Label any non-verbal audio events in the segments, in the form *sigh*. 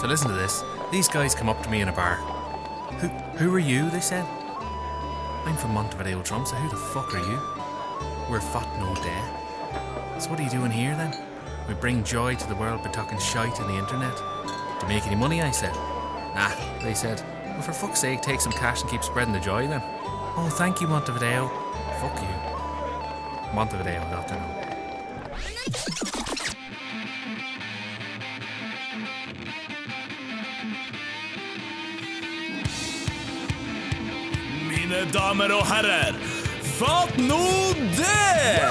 So listen to this. These guys come up to me in a bar. Who, who are you? They said. I'm from Montevideo Drum, so who the fuck are you? We're fat no day. So what are you doing here then? We bring joy to the world by talking shite on the internet. Do you make any money? I said. Nah, they said. Well, for fuck's sake, take some cash and keep spreading the joy then. Oh, thank you, Montevideo. Fuck you. Montevideo, not to know. Mine damer og herrer, fatt nå det!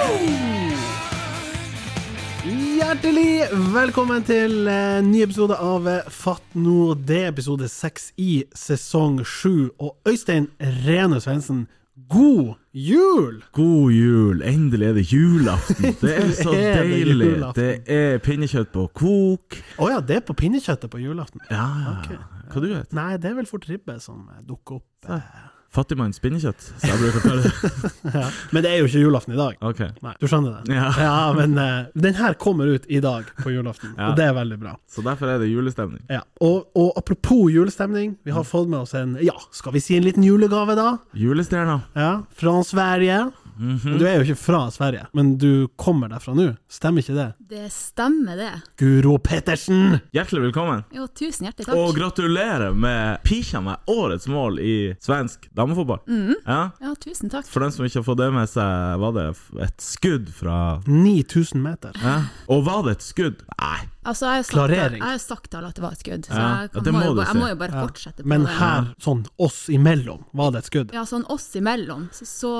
Hjertelig velkommen til eh, ny episode av eh, Fatt Nord. Det er episode seks i sesong sju. Og Øystein Rene Svendsen, god jul! God jul! Endelig er det *laughs* julaften. Det er så Det er det deilig. julaften. Det er pinnekjøtt på kok. Å ja, det er på pinnekjøttet på julaften. Ja, ja. Ok. Hva du vet? Nei, det er vel fort ribbe som eh, dukker opp. eh. Fattigmanns pinnekjøtt, som jeg bruker å kalle det. *laughs* Ja. Men det er jo ikke julaften i dag. Ok. Nei, du skjønner det? Ja. men eh, den her kommer ut i dag på julaften, Ja. og det er veldig bra. Så derfor er det julestemning. Ja, og, og apropos julestemning, vi Mm. har fått med oss en, ja, skal vi si en liten julegave da? Julestjerna. Ja, fra Sverige. Mhm. Men Du er jo ikke fra Sverige, men du kommer derfra nå. Stemmer ikke det? Det stemmer, det. Guro Pettersen! Hjertelig velkommen. Jo, tusen hjertelig takk. Og gratulerer med pikkja med årets mål i svensk damefotball. Mm. Ja. ja, tusen takk. For den som ikke har fått det med seg, var det et skudd fra 9000 meter. ja. Og var det et skudd? Nei. Altså, jeg har sagt, Klarering. Jeg har sagt til alle at det var et skudd, så Ja, jeg, ja, kan, det må, må jo du bare, si. jeg må jo bare fortsette på Men det. her, sånn oss imellom, var det et skudd. Ja, sånn oss imellom. Så, så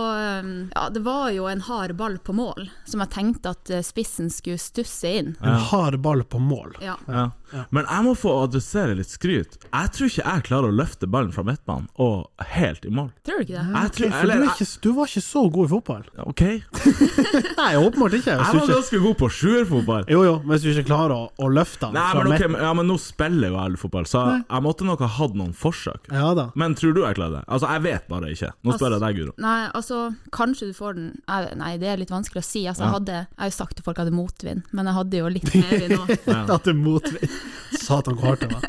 um, Ja, det var jo en hard ball på mål, som jeg tenkte at eh, spissen skulle stusse inn. En hard ball på mål. Ja. Ja. Men jeg må få adressere litt skryt. Jeg tror ikke jeg klarer å løfte ballen fra midtbanen og helt i mål. Tror du ikke det? Jeg Ok, tror, for du, eller, er ikke, du var ikke så god i fotball. jeg, ok, jeg Nei, åpenbart ikke. Hvis du var ikke ganske god på sjuerfotball. jo, jo, men hvis du ikke klarer å, å løfte den Nei, fra men, ok, midten men- ja, men nå spiller jo jeg all fotball, så jeg måtte nok ha hatt noen forsøk. Ja da. Men tror du jeg klarer det? Altså, jeg vet bare ikke. Nå spør jeg deg, Guro. Nei, altså, kanskje du får den jeg- Nei, det er litt vanskelig å si. Altså, jeg, hadde, jeg har jo sagt til folk at jeg hadde motvind, men jeg hadde jo litt medvind òg. *laughs* At det er motvind. Satan, hvor hardt det var.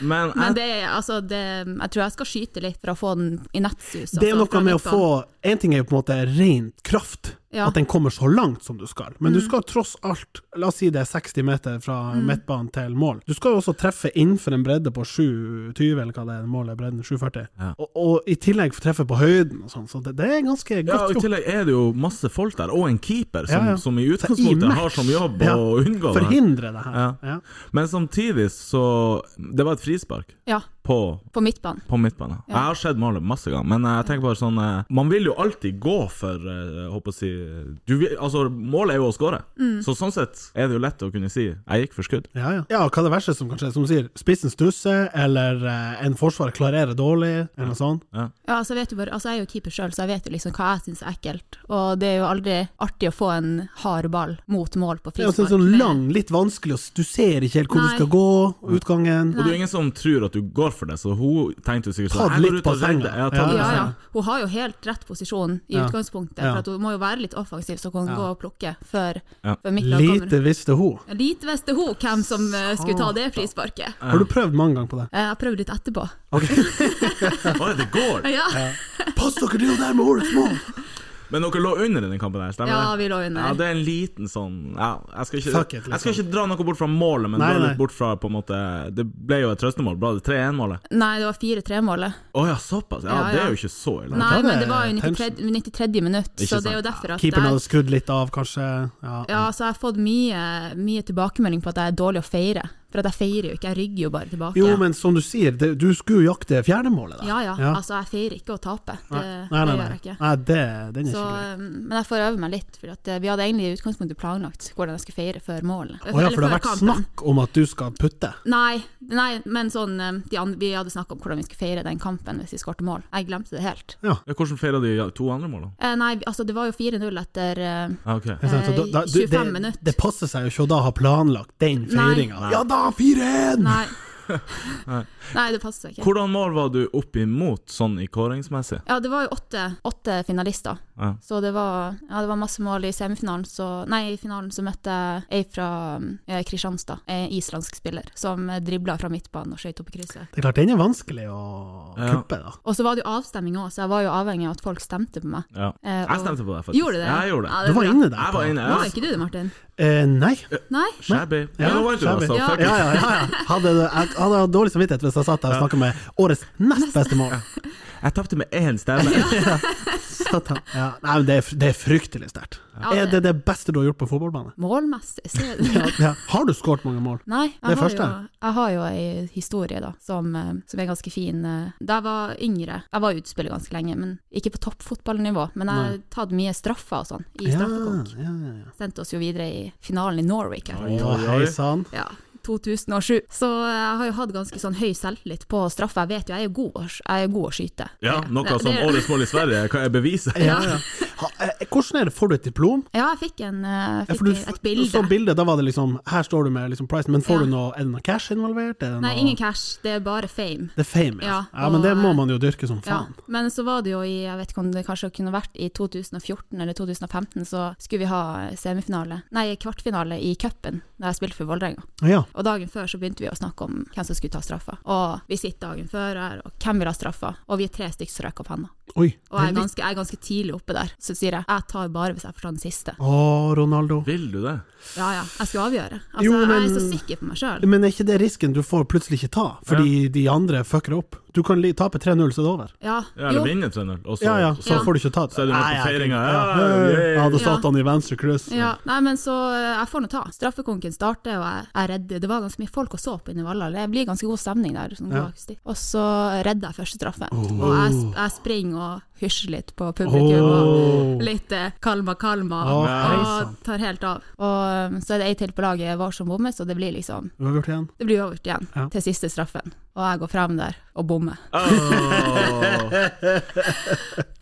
Men Men jeg, det, er- altså, det, jeg tror jeg skal skyte litt for å få den i nettsus. Det er altså, fra noe med å få midtbanen. En ting er jo på en måte ren kraft, Ja. at den kommer så langt som du skal. Men du skal tross alt, la oss si det er 60 meter fra midtbanen til mål. Du skal jo også treffe innenfor en bredde på 720, eller hva det er målet er, bredden 740. Ja. Og, og i tillegg få treffe på høyden og sånn, så det, det er ganske ja, og godt I gjort. tillegg er det jo masse folk der, og en keeper, som, Ja, ja. som i Så i utgangspunktet har match- som jobb Ja. å unngå det. her. Forhindre det her. Ja. Ja. Men samtidig så Det var et frispark Ja, på på midtbanen. På midtbane. Jeg har sett målet masse ganger, men jeg tenker bare sånn eh, Man vil jo alltid gå for eh, jeg håper å si du vil, Altså, målet er jo å skåre, Mm. så sånn sett er det jo lett å kunne si 'jeg gikk for skudd'. Ja, ja. ja, hva er det verste som kan skje? Som du sier, spissen stusser, eller eh, en forsvarer klarerer dårlig, eller noe sånt. Ja, altså, jeg vet jo bare, altså, jeg er jo keeper sjøl, så jeg vet jo liksom hva jeg syns er ekkelt. Og det er jo aldri artig å få en hard ball mot mål på Det er jo frispark. sånn sånn med- lang, litt vanskelig, og du ser ikke helt hvor Nei. du skal gå, utgangen. Og det er jo ingen som tror at du går for det, så hun tenkte jo sikkert Ta sånn det «Jeg går litt ut og på senga». redder- Ja, ta Ja, det litt på Ja, ja. senga. Hun har jo helt rett posisjon i Ja. utgangspunktet, Ja. for at hun må jo være litt offensiv, så hun kan gå og plukke før, Ja. før mitt lag Lite kommer. visste hun. Lite visste hun hvem som eh, skulle ta det frisparket. Har du prøvd mange ganger *laughs* på det? Eh, Jeg har prøvd litt etterpå. Å, det går! Ja, Pass dere, det er jo der med årets mål! Men dere lå under i den kampen der, stemmer ja det? vi lå under. Ja, det er en liten sånn ja, jeg, skal ikke, Fuck it, liksom. jeg skal ikke dra noe bort fra målet, men Nei, dra nei. litt bort fra på en måte Det ble jo et trøstemål. Bra, det 3-1-målet. Nei, det var 4-3-målet. Å ja, såpass? Ja, Ja, det ja. er jo ikke så ille. Nei, det men er det var jo 93. 93 minutt, Ikke så det er jo sant. derfor *laughs* at Keeperen jeg hadde skrudd litt av, kanskje. Ja. Ja, så jeg har fått mye, mye tilbakemelding på at jeg er dårlig å feire. For at jeg feirer jo ikke, jeg rygger jo bare tilbake. Jo, men som du sier, det, du skulle jo jakte fjerdemålet der. Ja ja, Ja. altså jeg feirer ikke å tape. Det, Nei, nei, nei. det gjør nei. jeg ikke. nei det, den er Så, ikke grei. um, men jeg får øve meg litt, for at eh, vi hadde egentlig i utgangspunktet planlagt hvordan jeg skulle feire før målet. Å ja, for det har vært snakk om at du skal putte. Nei, nei, men sånn, um, de andre, vi hadde snakka om hvordan vi skulle feire den kampen hvis vi skåret mål. Jeg glemte det helt. Ja, Hvordan feira de to andre målene? Eh, nei, altså det var jo 4-0 etter eh, Ah, ok. Ikke sant? Så Eh, du, 25 det, minutter. det passer seg jo ikke å da ha planlagt den *laughs* Nei. feiringa. Ja da, 4-1! Nei, Nei, det passer ikke. Hvordan mål var du opp imot sånn i kåringsmessig? Ja, det var jo åtte, åtte finalister, Ja. så det var, ja, det var masse mål i semifinalen. Så, nei, i finalen så møtte jeg ei fra eh, Kristianstad, ei islandsk spiller, som dribla fra midtbanen og skøyt opp i krysset. Det er klart, den er vanskelig å Ja. kuppe, da. Og så var det jo avstemming òg, så jeg var jo avhengig av at folk stemte på meg. ja. Eh, og- Jeg stemte på deg, faktisk. Gjorde du det? Ja, jeg gjorde det. Ja, Du er var bra. inne der. Jeg var inne. Nå Jeg, er ikke du det, Martin. Eh, nei. Nei? shabby. Ja, nå vant du, shabby. altså. Ja. Fuck Ja, it. ja, ja, ja. Hadde, du- jeg hadde hatt dårlig samvittighet hvis jeg satt der og snakka med årets nest beste *laughs* mål. Jeg tapte med én stemme. Satan. Ja. Nei, men det er, det er fryktelig sterkt. Ja, Er det- det det beste du har gjort på fotballbane? Målmessig, så er det Ja, ja. Har du skåret mange mål? Nei, jeg, Det har første. jo, jeg har jo ei historie da, som, eh, som er ganske fin. eh. Da jeg var yngre, jeg var utespiller ganske lenge, men ikke på toppfotballnivå. Men jeg har tatt mye straffer og sånn, i Ja, straffekonk. ja, ja, ja. Sendte oss jo videre i finalen i Norwich. her. Oi, Å, oi, hei oi. sann. Ja, 2007. Så eh, jeg har jo hatt ganske sånn høy selvtillit på straffer. Jeg vet jo, jeg er god, å- jeg er god å skyte. *laughs* Ja, noe Det- som det- årets mål i Sverige kan jeg bevise. Ja, ja. Ha, eh, Hvordan er det, får du et diplom? Ja, jeg fikk, en, eh, Ja, jeg for fikk du et f- bilde. så bildet, da var det liksom Her står du med liksom prisen, men får Ja. du noe Er det noe cash involvert? Er det Nei, noe- ingen cash, det er bare fame. Det er fame, ja. Ja, ja. men og- det må man jo dyrke som Ja, faen. men så var det jo i, jeg vet ikke om det kanskje kunne vært i 2014 eller 2015, så skulle vi ha semifinale, nei kvartfinale i cupen, da jeg spilte for Vålerenga. Ja. Og dagen før så begynte vi å snakke om hvem som skulle ta straffa. Og vi sitter dagen før her, og hvem vil ha straffa? Og vi er tre stykker som rekker opp handa. Oi. Og jeg er, ganske, jeg er ganske tidlig oppe der, så sier jeg jeg tar bare hvis jeg får ta den siste. Å, Ronaldo. Vil du det? Ja ja, jeg skal avgjøre. Altså, Jo, jeg er så men- sikker på meg sjøl. Men er ikke det risken du får plutselig ikke ta, fordi de andre fucker opp? Du kan li tape 3-0, så er det over. Ja, Ja, eller jo. vinne 3-0, og så- Ja, ja, så Ja. får du ikke tatt. Så er du med på Nei, jeg- feiringa. Ja, Ja, ja, ja. yay. Jeg hadde Ja. satt han i venstre kryss. Ja, nei, men så eh, jeg får nå ta. Straffekonken starter, og jeg, jeg redder. Det var ganske mye folk og så på inni Valhall. Det blir ganske god stemning der. Sånn god akustikk. Og så redder jeg første straffe. Og jeg, sp- jeg springer og hysjer litt på publikum. Oh. Og litt eh, kalma, kalma. Å, hei og tar helt av. Og um, så er det ei til på laget var som bommer, så det blir liksom Uavgjort igjen. Det blir over igjen Ja. til siste straffen. Og jeg går frem der og bommer.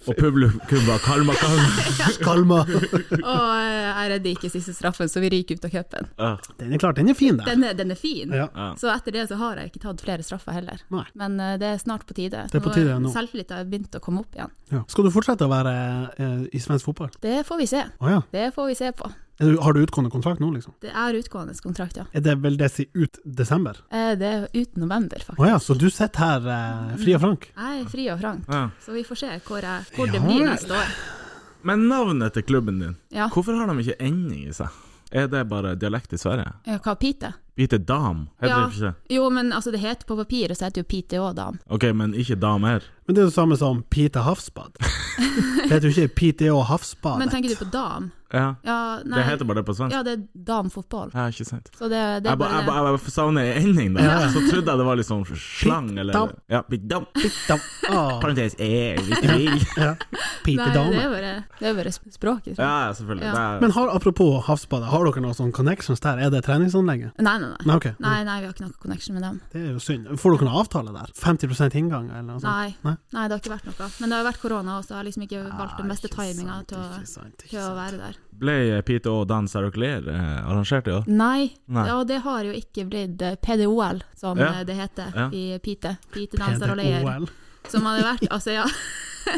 Og publikum bare kalma, kalma. Kalma. Og eh, jeg redder ikke siste straffen, så vi ryker ut av cupen. Ja. *laughs* Den er klart, den er fin, der. Den, er- den er fin. Ja. Så etter det så har jeg ikke tatt flere straffer heller. Nei. Men eh, det er snart på tide. Det er på tide nå. Selvtilliten har begynt å komme opp igjen. Ja. Skal du fortsette å være eh, i svensk fotball? Det får vi se. Å ja. Det får vi se på. Er du, har du utgående kontrakt nå, liksom? Det er utgående kontrakt, ja. Er det vel det si ut desember? Eh, Det er ut november, Å faktisk. ja, så du sitter her eh, fri og frank? Jeg er fri og frank, Ja. så vi får se hvor, jeg, hvor Ja det blir vel. neste år. Men navnet til klubben din, Ja. hvorfor har de ikke ending i seg? Er det bare dialekt i Sverige? Eh, Hva Pite? Hvite dam, heter Ja. det ikke? Jo, men altså, det heter på papiret, så heter jo Pite òg, da. Ok, men ikke damer. Men det er jo det samme som Pite *laughs* Havsbad. Det heter jo ikke Pite og Havsbadet. Men tenker du på dam? Ja, Ja, nei. det heter bare det på svensk. Ja, det er damfotball. Ja, ikke sant. Så det, Jeg det er bare, bare jeg bare, jeg bare savner en ending, da. Så trodde jeg det var litt sånn slang, eller Pitt-dam. Ja, pitt-dam. *laughs* Da, å, Parentes e, hvis du vil. ja. Pite Nei, det er Dame. bare, det er bare sp- språket. Nei, *laughs* Ja, ja, selvfølgelig. Ja. Det Men har, apropos Havsbadet, har dere noen sånne connections der? Er det treningsanlegget? nei, nei. Nei, ok. Nei, nei, vi har ikke noe connection med dem. Det er jo synd. Får dere noen avtale der? 50 inngang, eller noe sånt? Nei. Nei? Nei. det har ikke vært noe. Men det har vært korona også, så jeg har liksom ikke valgt den beste Ikke sant, timinga til, å- ikke sant, ikke til å sant. være der. er- ble eh, Pete og Dan Saroclear eh, arrangert i år? Nei, Nei. og det har jo ikke blitt eh, PDOL, som Ja. eh, det heter Ja. i Pite. Pite danser og leier. PDOL. Som hadde vært Altså, ja. *laughs*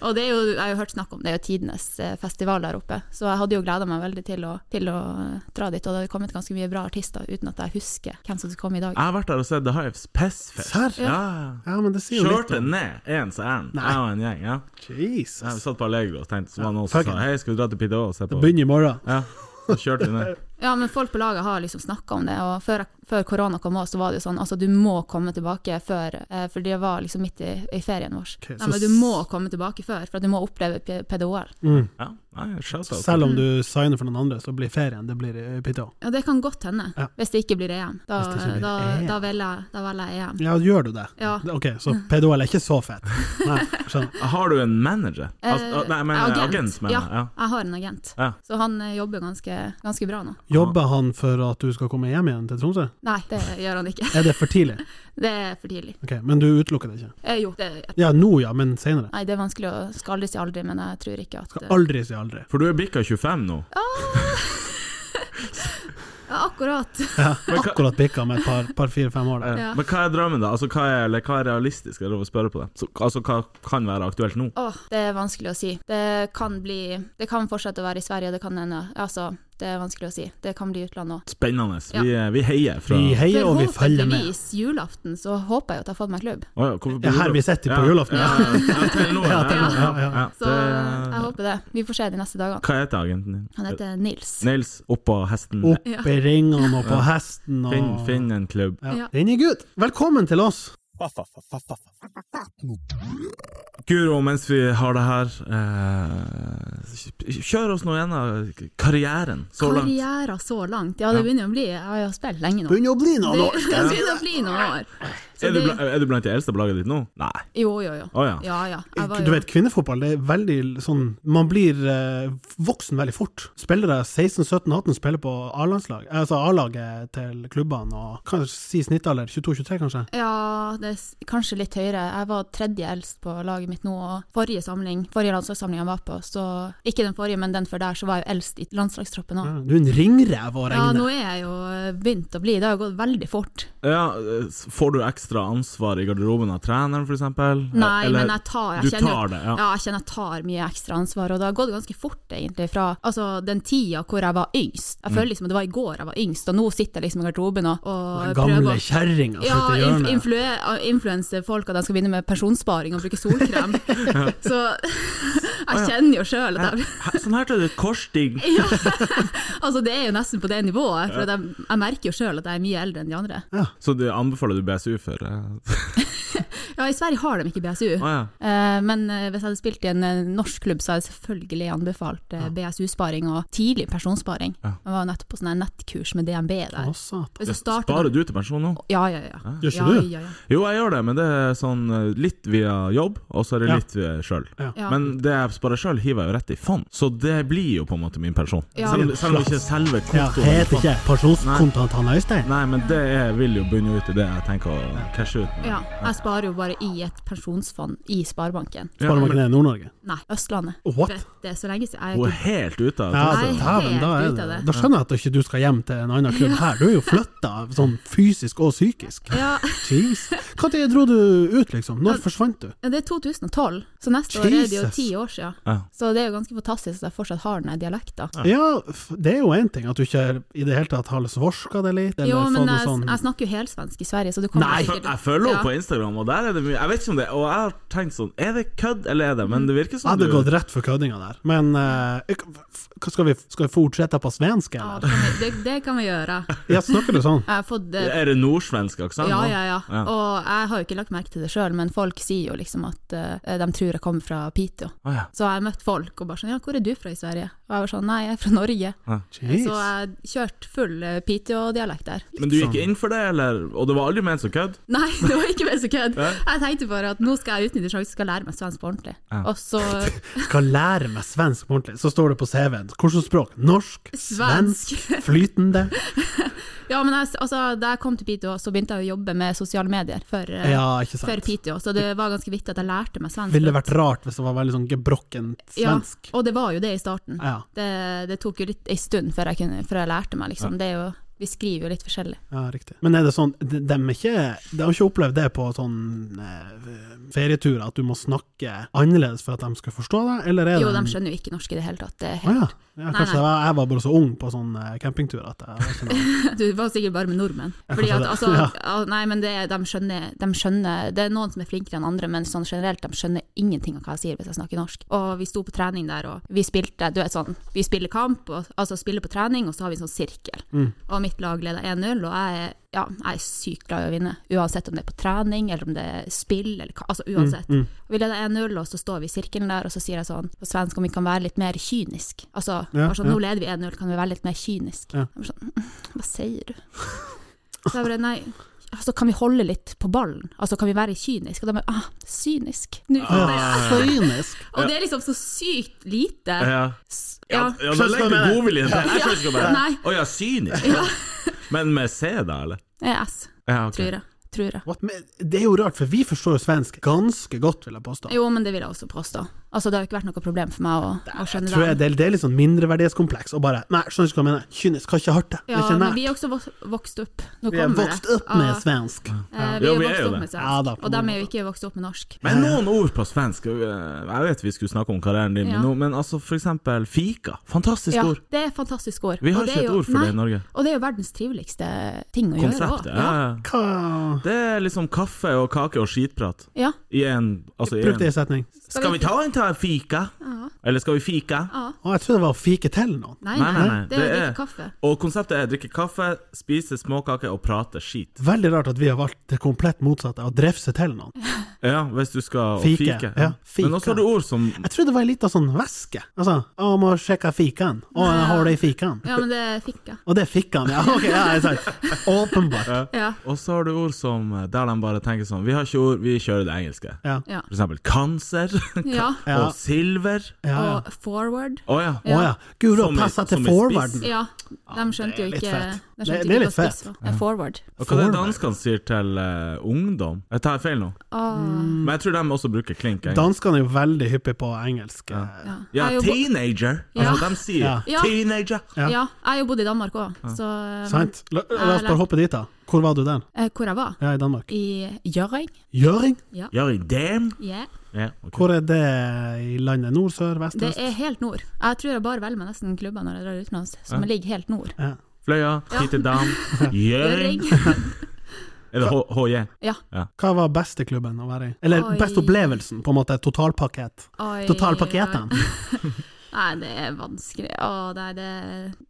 og det er jo, jeg har jo hørt snakk om det, er jo tidenes eh, festival der oppe. Så jeg hadde jo gleda meg veldig til å, til å eh, dra dit, og det hadde kommet ganske mye bra artister uten at jeg husker hvem som skulle komme i dag. Jeg har vært der og sett The Hives Pessfest. Serr? Ja. Ja, men det sier jo litt Kjørte om ned ens ærend, Nei. jeg og en gjeng. ja. ja Vi Jesus. satt på Allegro og tenkte, så var det noen fuck som it. sa hei, skal vi dra til Pete og se Det på? begynner i morgen. Ja, så kjørte vi ned. Ja, men folk på laget har liksom snakka om det, og før, før korona kom òg, så var det jo sånn altså du må komme tilbake før, eh, for det var liksom midt i, i ferien vår. Ok, så Nei, men du må komme tilbake før, for at du må oppleve P- PDOL. Ja, nei, shout-out. Mm. Selv Mm. om du signer for noen andre, så blir ferien det blir eh, Pite Ja, det kan godt hende, Ja. hvis det ikke blir EM. Da, Hvis det ikke blir E da, EM. da, velger, jeg- da velger jeg EM. Ja, gjør du det? Ja. Ok, så PDOL er ikke så fett. Nei, skjønner. *laughs* Har du en manager? Al Eh, al- nei, men agent, agent mener ja, jeg. Ja. jeg har en agent, Ja. så han eh, jobber ganske, ganske bra nå. Jobber han for at du skal komme hjem igjen til Tromsø? Nei, det gjør han ikke. Er det for tidlig? Det er for tidlig. Ok, Men du utelukker det ikke? Eh, jo, det, Ja, nå ja, men senere. nei, det er vanskelig å skal aldri si aldri, men jeg tror ikke at Skal aldri si aldri. For du er bikka 25 nå. Ja, akkurat. Akkurat bikka med et par, par fire-fem år. Der. Ja. Men hva er drømmen, da? Altså, hva er, eller hva er realistisk? Er det lov å spørre på det? Så, altså, hva kan være aktuelt nå? Åh, det er vanskelig å si. Det kan bli Det kan fortsette å være i Sverige, det kan hende Altså, det er vanskelig å si. Det kan bli utlandet òg. Spennende. Ja. Vi, eh, vi heier fra Vi heier og vi følger med. Forhåpentligvis julaften så håper jeg at jeg har fått meg klubb. Å ja, hvorfor Det er her vi sitter på julaften. Ja, ja, ja, til nå, ja, til nå, *laughs* ja, Ja, ja. ja. Så jeg Det, håper det. Vi får se de neste dagene. hva heter agenten din? Han heter Nils. Nils oppå hesten. Opp i ringene og på hesten og Finn, finn en klubb. Ja. Ja. Den er good. Velkommen til oss. Guro, mens vi har det her, eh, kjør oss nå gjennom karrieren så langt. Karriere så langt. Ja, det begynner å bli Jeg har jo spilt lenge nå. Begynner å bli noen Det år. det begynner å bli noen år. Så Er du, det- bla- er du blant de eldste på laget ditt nå? Nei. Jo, jo, jo. Å ja. Ja, ja. Jeg var Du jo vet, kvinnefotball det er veldig sånn Man blir eh, voksen veldig fort. Spillere 16-17-18 spiller på A-landslag, altså A-laget til klubbene, og kanskje si snittalder 22-23, kanskje. Ja, det er s- kanskje litt høyere. Jeg var tredje eldst på laget mitt nå, og forrige samling, forrige landslagssamling jeg var på, så ikke den forrige, men den før der, så var jeg jo eldst i landslagstroppen Ja, Mm. òg. Du er en ringrev å Ja, regne. nå er jeg jo eh, begynt å bli, det har jo gått veldig fort. Ja, eh, får du ekstra ansvar i garderoben av treneren, f.eks.? Nei, men jeg tar jeg Du kjenner, tar det, ja. jeg kjenner jeg tar mye ekstra ansvar, og det har gått ganske fort, egentlig, fra altså, den tida hvor jeg var Mm. yngst. Jeg føler liksom at det var i går jeg var yngst, og nå sitter jeg liksom i garderoben og, og Den prøver å gamle kjerringa som Ja, sitter i inf hjørnet. influe influense folk at de skal begynne med personsparing og bruke solkrem. *laughs* Så *laughs* jeg kjenner jo sjøl at jeg Hæ, Sånn her tar du et korsstig. *laughs* ja. Altså, det er jo nesten på det nivået, for at jeg, jeg merker jo sjøl at jeg er mye eldre enn de andre. Så du anbefaler du BSU for *laughs* eh, Ja, i Sverige har de ikke BSU. Å ja. Eh, Men eh, hvis jeg hadde spilt i en eh, norsk klubb, så hadde jeg selvfølgelig anbefalt eh, BSU-sparing og tidlig personsparing. Jeg var jo nettopp på sånn her nettkurs med DNB der. Å, satan. Hvis du starter altså. Sparer du til pensjon nå? Ja, ja, ja. Gjør ikke ja, du? ja, ja. Jo, jeg gjør det, men det er sånn eh, litt via jobb, og så er det Ja. litt eh, sjøl. Ja. Ja. Men det jeg sparer sjøl, hiver jeg jo rett i fond, så det blir jo på en måte min pensjon. Ja. Selv, om- selv om ikke selve Ja, kontoen heter ikke pensjonskontoen til han Øystein? Nei, men det er, vil jo bunne ut i det jeg tenker å cashe ut. med. ja. Jeg sparer jo bare i et pensjonsfond i Sparebanken. Sparer man ikke det i Nord-Norge? Nei, Østlandet. What? Vet det er så lenge siden. Jeg Hun er er ikke helt ute av Ja, Nei, altså, dæven, helt da, ut er av det. det. da skjønner jeg at ikke du skal hjem til en annen klubb her. Du er jo flytta sånn fysisk og psykisk. ja, Jeez. Når dro du ut, liksom? Når forsvant du? det er 2012, så neste år er det jo Jesus. ti år siden. Ja. Så det er jo ganske fantastisk at jeg fortsatt har den dialekten. Ja, f- det er jo én ting at du ikke i det hele tatt har svorska det litt, eller Jo, men fått noe jeg, sånn jeg snakker jo helsvensk i Sverige, så du kommer Nei, Jeg, sikkert jeg følger henne Ja. på Instagram, og der er det mye Jeg vet ikke om det Og jeg har tenkt sånn Er det kødd, eller er det Men det virker Jeg som hadde gått rett for køddinga der, men eh, ik- f- hva skal vi skal vi fortsette på svensk, Ja, eller? det kan vi- det, det kan vi gjøre. Ja, snakker du sånn? Jeg har fått eh, Er det nordsvensk aksent? Ja, nå? ja, ja. Og jeg har jo ikke lagt merke til det sjøl, men folk sier jo liksom at eh, de tror jeg kommer fra Piteå. Å, ja. Så jeg har møtt folk og bare sånn Ja, hvor er du fra i Sverige? Og jeg var sånn Nei, jeg er fra Norge. Jeez. *laughs* Så eh, jeg kjørte full eh, Piteå-dialekt der. Men du gikk inn for det, eller? Og det var aldri ment som kødd? Nei, det var ikke mer så kødd. Jeg tenkte bare at nå skal jeg utnytte sjansen, skal lære meg svensk på ordentlig. Og så Skal lære meg svensk på ordentlig. Så står det på CV-en. Hvilket språk? Norsk? Svensk? Svensk. Flytende? Ja, men jeg, altså, da jeg kom til Piteå, så begynte jeg å jobbe med sosiale medier for, eh, Ja, ikke for sant. Piteå, så det var ganske viktig at jeg lærte meg svensk. Ville vært rart hvis det var veldig sånn gebrokkent svensk. Ja, og det var jo det i starten. Ja. Det, det tok jo litt ei stund før jeg, kunne, før jeg lærte meg, liksom. Det er jo, vi skriver jo litt forskjellig. Ja, riktig. Men er det sånn, de, dem er ikke, de har ikke opplevd det på sånn eh, ferietur, at du må snakke annerledes for at de skal forstå deg, eller er det Jo, de skjønner jo ikke norsk i det hele tatt. Det er Å helt. ja. ja. Kanskje Nei, nei. Jeg, var, jeg var bare så ung på sånn eh, campingtur at jeg var ikke noe- *laughs* Du var sikkert bare med nordmenn. Fordi kanskje at, det. altså, Ja. ja, nei, men det, de, skjønner, de skjønner Det er noen som er flinkere enn andre, men sånn generelt, de skjønner ingenting av hva jeg sier hvis jeg snakker norsk. Og vi sto på trening der, og vi spilte Du vet sånn, vi spiller kamp, og, altså spiller på trening, og så har vi en sånn sirkel. Mm. Og mitt lag leder 1-0, og jeg er ja, jeg er sykt glad i å vinne, uansett om det er på trening eller om det er spill, eller hva, Mm, altså uansett. Og Vi leder 1-0, og så står vi i sirkelen der, og så sier jeg sånn på svensk om vi kan være litt mer kynisk. Altså, Ja, bare sånn, ja. nå leder vi 1-0, kan vi være litt mer kynisk? Ja. Jeg var sånn, «Mm, hva sier du? *laughs* Så jeg bare, nei, altså kan vi holde litt på ballen? Altså kan vi være kynisk? Og de bare, ah, cynisk. Nå, Kynisk. Og det er liksom så sykt lite. Ja. S- Ja, Ja. ja da Skjønner hva legger jeg du mener. godviljen til. Jeg skjønner ikke hva jeg Nei. mener. Å ja, cynisk. Men med C, da, eller? Det er S, Ja, ok. tror jeg. Tror jeg. What? Men det er jo rart, for vi forstår jo svensk ganske godt, vil jeg påstå. Jo, men det vil jeg også påstå. Altså, det har jo ikke vært noe problem for meg å, å skjønne Tror jeg det. det, det er litt sånn mindreverdighetskompleks å bare Nei, skjønner ikke hva jeg mener. Kynisk, har ikke hørt det. det Ja, er ikke men nært. vi er også vok- vokst opp. Nå Vi er kommer det. vokst opp med Ja. svensk. Eh, Ja, vi er vi er vokst jo opp det. med Ja da, svensk, på og de mange er jo ikke vokst opp med norsk. Men noen ord på svensk. øh, Jeg vet vi skulle snakke om karrieren din, Ja. men, nå- men altså for eksempel fika. Fantastisk Ja, ord. det er et fantastisk ord. Vi har Og ikke er et jo- ord for det i nei, Norge. Og det er jo verdens triveligste ting å Konseptet. gjøre. Ja. også. ja. Hva Det er liksom kaffe og kake og skitprat Ja. ja. i en Altså i Bruk det en i setning. Skal vi ta en ta fika? Eller skal vi fika? Å, jeg tror det var å fike til noen. Nei, Nei, nei, nei, nei. Det er jo Det er- drikke kaffe. Og konseptet er drikke kaffe, spise småkaker og prate skit. Veldig rart at vi har valgt det komplett motsatte, å drefse til noen. Ja, hvis du skal og Fike, fike. ja, fika. Men også har du ord som Jeg tror det var ei lita sånn væske. Altså, å, må sjekke fikaen. Å, jeg har det i fikaen. Ja, men det fikk jeg. Og det fikk han, ja. *laughs* Ok, ja, jeg sa Åpenbart. Ja, Og så har du ord som eh, der de bare tenker sånn Vi har ikke ord, vi kjører det engelske. Ja. ja. For eksempel cancer *laughs* ja. Ja. og silver. Ja, ja. Og forward. Å ja. Å ja. Gud, da Som i- passer til som i spiss. forwarden. Ja, de skjønte jo litt ikke fett. de Det- skjønte det er ikke litt hva spiss var. Ja, forward. Og hva er Forward. det danskene sier til eh, ungdom? Jeg tar feil nå, Ah. Mm. men jeg tror de også bruker klink. egentlig. Danskene er jo veldig hyppige på engelsk. eh, Ja. Ja, Jeg har jo bo- teenager. Ja. Altså, de sier Ja. Ja. teenager. Ja. ja, jeg har jo bodd i Danmark òg, så um, Sant? La, la oss bare hoppe dit, da. Hvor var du der? eh, Hvor jeg var? Ja, i Danmark. I Gjøring? Gjøring? Gjør i damn. Yeah. Ja, ok. Hvor er det i landet? Nord, sør, vest, Det øst? er helt nord. Jeg tror jeg bare velger meg nesten klubber når jeg drar utenlands, som ligger helt nord. Ja. Fløya, Hittedam, Gjøring. Gjøring. Er det H- HJ? *laughs* Ja. Hva var beste klubben å være i? Eller Oi. best opplevelsen, på en måte. Totalpakket. Oi, Totalpaketen. Nei, det er vanskelig. Å, det er det.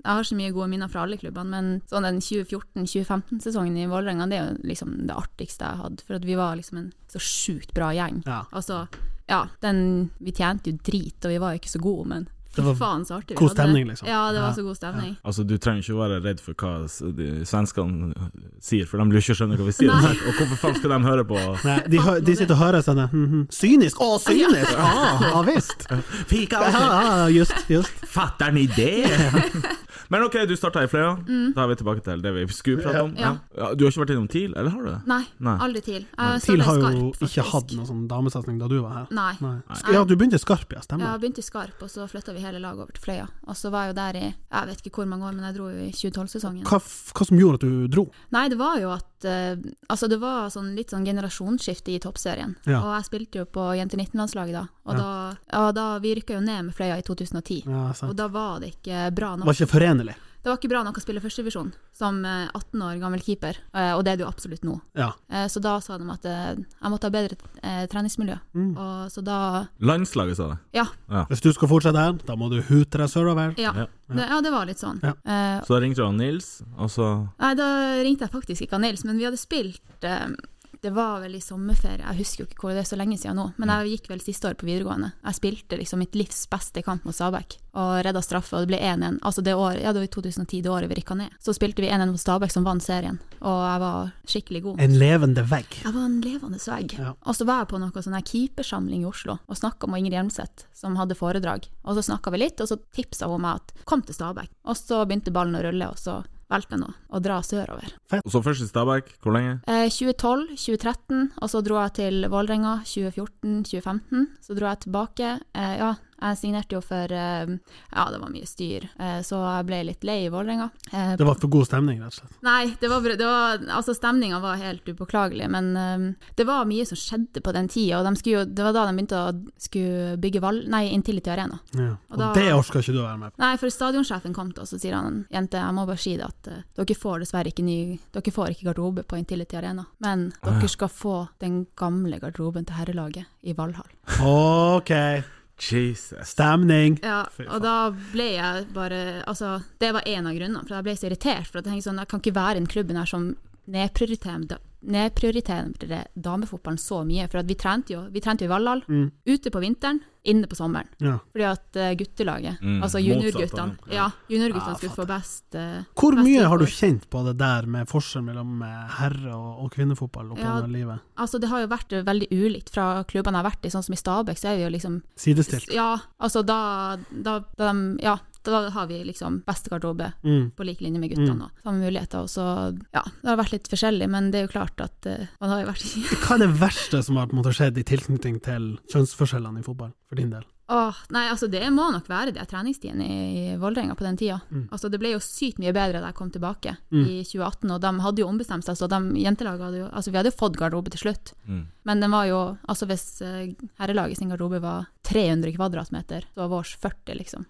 Jeg har så mye gode minner fra alle klubbene, men sånn den 2014-2015-sesongen i Vålerenga, det er jo liksom det artigste jeg hadde. For at vi var liksom en så sjukt bra gjeng. Ja. Altså, ja, den Vi tjente jo drit, og vi var jo ikke så gode, men Det fy var faen så artig vi god hadde stemning, det. liksom. Ja, det Ja, var så god stemning. Altså, du trenger ikke å være redd for hva s- de svenskene sier, for de vil jo ikke skjønne hva vi sier. *laughs* Og hvorfor faen skal de høre på Nei, de, hø de sitter og hører sånn hm, hm. Synisk! Å, synisk! Ah, ja visst! Fika? Ja, altså. ja, just, just. Fatter'n i det? Men OK, du starta i Fløya. Da er vi tilbake til det vi skulle prate om. Ja. Ja, du har ikke vært innom TIL, eller har du det? Nei, Nei. aldri til. Jeg TIL har startet i jo Skarp, ikke faktisk. hatt noen sånn damesatsing da du var her. Nei. Nei. Ja, du begynte i Skarp, ja. Ja, Stemmer. jeg begynte i Skarp, og så flytta vi hele laget over til Fløya. Og så var jeg jo der i jeg vet ikke hvor mange år, men jeg dro jo i 2012-sesongen. Hva, f- hva som gjorde at du dro? Nei, det var jo at eh, Altså, det var sånn, litt sånn generasjonsskifte i toppserien. Ja. Og jeg spilte jo på Jenter 19-landslaget da, og da, ja, da Vi rykka jo ned med Fløya i 2010. Ja, Og sant. da var det ikke bra nok. Var ikke forenlig. Det var ikke bra nok å spille førstevisjon som eh, 18 år gammel keeper, eh, og det er det jo absolutt nå. Ja. Eh, Så da sa de at eh, jeg måtte ha bedre eh, treningsmiljø. Mm. Og så da Landslaget, sa det. Ja. Hvis du skal fortsette her, da må du hute deg sørover. Ja, det, ja, det var litt sånn. Ja. Eh, Så da ringte du han Nils, og så Nei, da ringte jeg faktisk ikke han Nils, men vi hadde spilt eh, Det var vel i sommerferie, jeg husker jo ikke hvor det er så lenge siden nå, men jeg gikk vel siste år på videregående. Jeg spilte liksom mitt livs beste kamp mot Stabæk, og redda straffe, og det ble 1-1. Altså det året, ja det var i 2010, det året vi rykka ned. Så spilte vi 1-1 mot Stabæk, som vant serien, og jeg var skikkelig god. En levende vegg. Jeg var en levende svegg. Ja. Og så var jeg på noe sånn her keepersamling i Oslo og snakka med Ingrid Hjelmseth, som hadde foredrag. Og så snakka vi litt, og så tipsa hun meg at kom til Stabæk. Og så begynte ballen å rulle, og så valgte jeg nå å dra sørover. Og så først i Stabæk. Hvor lenge? Eh, 2012, 2013, og så dro jeg til Vålerenga 2014, 2015. Så dro jeg tilbake. Eh, ja, jeg signerte jo for eh, Ja, det var mye styr, eh, så jeg ble litt lei i Vålerenga. Eh, Det var for god stemning, rett og slett. Nei, det var, det var, altså stemninga var helt upåklagelig, men eh, det var mye som skjedde på den tida. Og de skulle, jo- det var da de begynte å skulle bygge Val... Nei, Intility Arena. Ja. Og da- det orker ikke du å være med på. Nei, for stadionsjefen kom til oss og sier han, jente, jeg må bare si det at eh, dere får dessverre ikke ny Dere får ikke garderobe på Intility Arena, men Ah. dere skal få den gamle garderoben til herrelaget i Valhall. OK, Jesus. stemning. Ja, og da ble jeg bare Altså, det var en av grunnene, for jeg ble så irritert. For jeg tenkte sånn, jeg kan ikke være i den klubben her som nedprioriterer da- nedprioriterer damefotballen så mye. For at vi trente jo vi trente jo i Valhall, Mm. ute på vinteren, inne på sommeren. Ja. Fordi at eh, guttelaget, Mm, altså juniorguttene, motsatt, ja. Ah, ja, juniorguttene skulle få best eh, Hvor best mye har du vilkår. kjent på det der med forskjell mellom eh, herre- og, og kvinnefotball opp Ja. gjennom livet? Altså, det har jo vært eh, veldig ulikt fra klubbene jeg har vært i, sånn som i Stabæk, så er vi jo liksom Sidestilt. Ja, altså da, da, da Ja, da har vi liksom beste garderobe Mm. på lik linje med guttene og samme muligheter. Og så, ja, det har vært litt forskjellig, men det er jo klart at eh, man har jo vært Hva er det verste som har på en måte, skjedd i tilknytning til kjønnsforskjellene i fotball, for din del? *laughs* Åh, nei, altså det må nok være de treningstidene i, i Vålerenga på den tida. Mm. Altså det ble jo sykt mye bedre da jeg kom tilbake i 2018, og de hadde jo ombestemt seg. Så de jentelaget hadde jo Altså vi hadde jo fått garderobe til slutt, Mm. men den var jo Altså hvis eh, herrelaget sin garderobe var 300 kvadratmeter, så var vårs 40, liksom.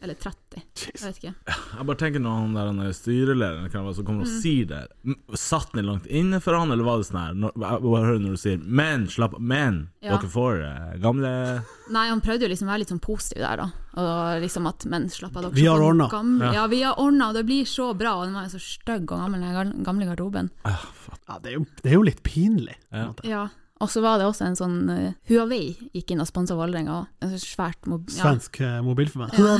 Eller 30. Jeg vet ikke. Jeg bare tenker når han der han er styrelederen hva det var, som kommer og Mm. sier det M- Satt den langt inne for han, eller var det sånn her når, Jeg bare hører når du sier 'men, slapp av, men', Ja. dere får eh, gamle *laughs* Nei, han prøvde jo liksom å være litt sånn positiv der, da. Og liksom at Men slapp av, dere. Vi har sånn ordnet. gamle- Ja, vi har ordna, og det blir så bra. Og den var jo så stygg og gammel, den gar- gamle garderoben. Ja, det, er jo, det er jo litt pinlig. på en Ja. måte. Ja, og så var det også en sånn eh, Huawei gikk inn og sponsa Vålerenga. også. En sånn svært mob... ja. Svensk eh, mobilformat. Ja.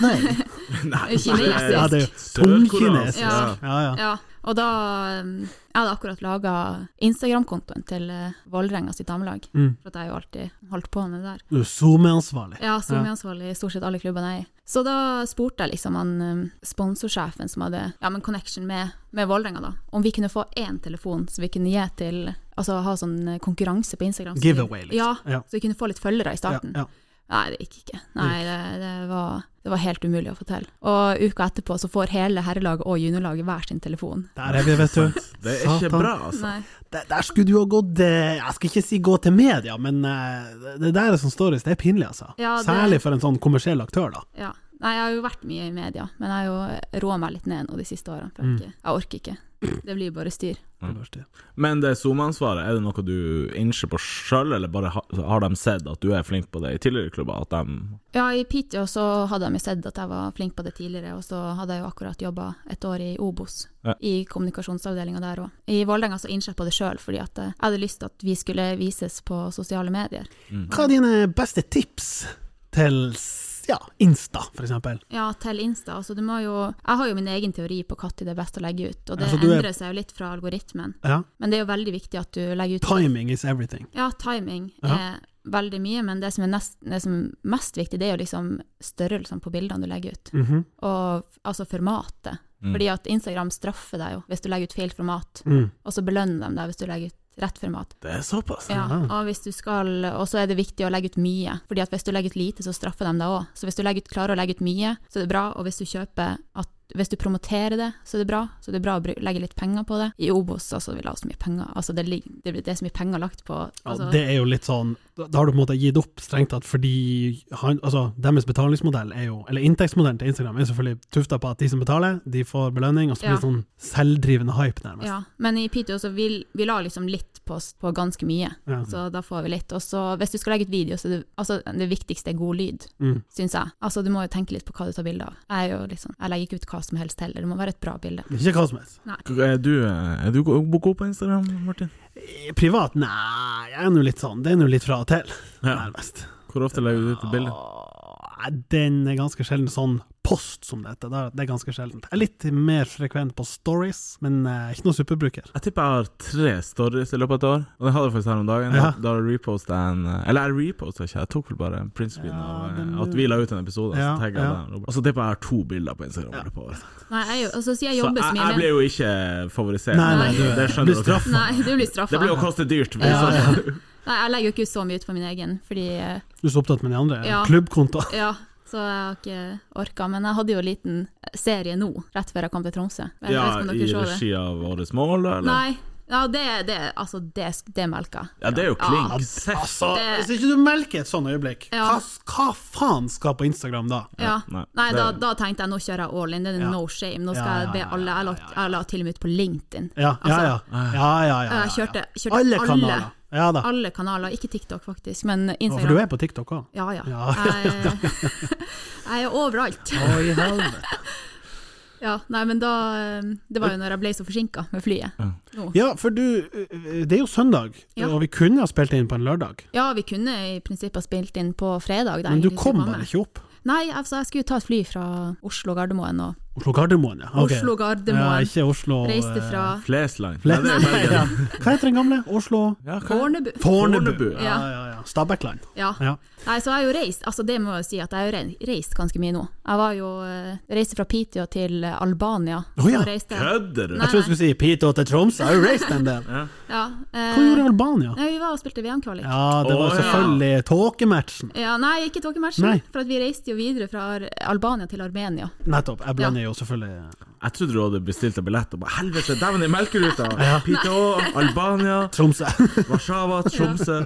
Nei, Kinesisk. Ja, det er jo Sørkoreansk. tungkinesisk. Ja. Ja, ja. Ja, og da eh, Jeg hadde akkurat laga Instagram-kontoen til eh, Vålerenga sitt damelag. Mm. For at jeg har jo alltid holdt på med det der. Du er SoMe-ansvarlig. Ja, som ansvarlig i stort sett alle klubbene jeg er i. Så da spurte jeg liksom han eh, sponsorsjefen som hadde ja, men connection med, med Vålerenga, da, om vi kunne få én telefon som vi kunne gi til Altså ha sånn eh, konkurranse på Instagram. så vi- Giveaway, liksom. Ja, Ja. så vi kunne få litt følgere Ja, i starten. ja. Nei, det gikk ikke. Nei, det, det, var, det var helt umulig å få til. Og uka etterpå så får hele herrelaget og juniorlaget hver sin telefon. Der er vi, vet du. Det er ikke Satan. bra, altså. Nei. Der, der skulle du ha gått eh, Jeg skal ikke si gå til media, men eh, det- det der som står i, det er pinlig, altså. Ja, det- Særlig for en sånn kommersiell aktør, da. Ja. Nei, jeg har jo vært mye i media, men jeg har jo roa meg litt ned nå de siste årene. For jeg, ikke, jeg orker ikke. Mm. Det blir bare styr. Det verste. Men det SoMe-ansvaret, er det noe du innser på sjøl, eller bare ha, har de sett at du er flink på det i tidligere klubber? At de Ja, i Piteå så hadde de jo sett at jeg var flink på det tidligere, og så hadde jeg jo akkurat jobba et år i Obos, Ja. i kommunikasjonsavdelinga der òg. I Vålerenga så innså jeg på det sjøl, fordi at eh, jeg hadde lyst til at vi skulle vises på sosiale medier. Hva er dine beste tips til s- ja, Insta, for eksempel? Ja, til Insta. Altså, du må jo, jeg har jo min egen teori på når det er best å legge ut, og det Altså, du er- endrer seg jo litt fra algoritmen. Ja. Men det er jo veldig viktig at du legger ut Timing is everything. Ja, timing Ja. er veldig mye, men det som er, nest, det som er mest viktig, det er jo liksom størrelsen på bildene du legger ut, Mhm. og f- altså formatet. Mm. Fordi at Instagram straffer deg jo hvis du legger ut feil format, Mm. og så belønner de deg hvis du legger ut rett format. Det er såpass? Ja, og hvis du skal, og så er det viktig å legge ut mye, fordi at hvis du legger ut lite, så straffer de deg òg. Så hvis du legger ut, klarer å legge ut mye, så er det bra, og hvis du kjøper at hvis du promoterer det, så er det bra. Så det er bra å bru- legge litt penger på det. I Obos altså, vi la så mye penger. Altså, det, ligger- det, det er så mye penger lagt på altså, Ja, det er jo litt sånn Da da har du på en måte gitt opp, strengt tatt, fordi han, altså, deres betalingsmodell er jo Eller inntektsmodellen til Instagram er jo selvfølgelig tufta på at de som betaler, de får belønning, og så blir det Ja. sånn selvdrivende hype, nærmest. Ja, men i Piteå så vi, vi la liksom litt på, på ganske mye, Ja. så da får vi litt. Og så hvis du skal legge ut video, så er det, altså, det viktigste er god lyd, Mm. syns jeg. Altså du må jo tenke litt på hva du tar bilde av. Jeg, er jo liksom, jeg legger ikke ut hva som helst heller, det må være et bra bilde. Ikke hva som helst. Er du, eh, er du go- god på Instagram, Martin? I Eh, Privat? Nei, jeg er nå litt sånn. Det er nå litt fra og *laughs* til, Ja. nærmest. Hvor ofte legger du ut et bilde? Åh, Den er ganske sjelden sånn post som dette. da- Det er ganske sjeldent. Jeg er litt mer frekvent på stories, men eh, ikke noen superbruker. Jeg tipper jeg har tre stories i løpet av et år. Og det hadde jeg faktisk her om dagen. Ja. Da repostet jeg en eh, Eller jeg repostet ikke, jeg tok vel bare en printscreen Ja, av den- eh, at vi la ut en episode. Ja, så tagget jeg ja. den. Og så tipper jeg jeg har to bilder på Instagram. i løpet av året. Nei, jeg, er jo- altså, siden jeg Så jobber så jeg, mye jeg med blir jo ikke favorisert. Nei, nei, Nei. du det blir skjønner dere. straffa. Nei, du blir straffa. Det blir jo koste dyrt. men Ja, så- ja. Nei, jeg legger jo ikke ut så mye ut på min egen, fordi eh, Du er så opptatt med de andre Ja. *laughs* klubbkontoene. Ja. Så jeg har ikke orka, men jeg hadde jo en liten serie nå, rett før jeg kom til Tromsø. Jeg vet Ja, ikke om dere I så det. regi av Årets mål, eller? Nei, ja, det, det, altså, det, det melker jeg. Ja, det er jo klink. Seff. Altså, Det- hvis ikke du melker et sånn øyeblikk, Ja. hva, hva faen skal på Instagram da? Ja. nei, Nei, det- da, da tenkte jeg nå kjører jeg all in. Det er no shame. Nå skal Ja, ja, jeg be ja, alle Jeg la, jeg la til og med ut på LinkedIn. Ja, ja, ja. ja, ja, ja, Altså, Jeg ja, kjørte, ja. kjørte Alle kanaler. Ja da. alle kanaler. Ikke TikTok, faktisk, men Ja, For du Instagram. er på TikTok òg? Ja, ja. Ja. Jeg, *laughs* jeg er overalt. Å, i helvete. Ja, nei, men da eh, Det var jo når jeg ble så forsinka med flyet. Nå. Ja, for du ø, ø, Det er jo søndag, Ja. og vi kunne ha spilt inn på en lørdag, Ja, vi kunne i prinsippet ha spilt inn på fredag. da jeg men du egentlig skulle kom komme. bare ikke opp. Nei, altså, jeg skulle ta et fly fra Oslo Gardermoen og Oslo Gardermoen, ja. Ok. Oslo Ja, Gardermoen. ikke Oslo Reiste eh, fra Flesland. Nei, Flesland. det er Bergen. Hva heter den gamle? Oslo Ja, hva- Fornebu. Fornebu. Fornebu. Ja, ja, ja. Stabækland. Ja. Ja. Nei, så jeg har jo reist, altså det må jeg jo si at jeg har jo re- reist ganske mye nå. Jeg var jo, eh, reiste fra Piteå til eh, Albania. Å ja, Så reiste jeg- Kødder du? Jeg trodde du skulle si Piteå til Troms, jeg har jo reist en del. Ja, eh, Hva gjorde Albania? Nei, vi var og spilte VM-kvalik. Ja. Ja, det var Å, ja. selvfølgelig tåkematchen. nei, ikke Nei. tåkematchen, for at vi reiste jo videre fra Ar- Albania til Armenia. Nettopp. Jeg blander jo selvfølgelig Jeg trodde du hadde bestilt deg billett og bare Helvete, dæven, det er melkeruta! PTO, Albania, Tromsø. *laughs* Warszawa, Tromsø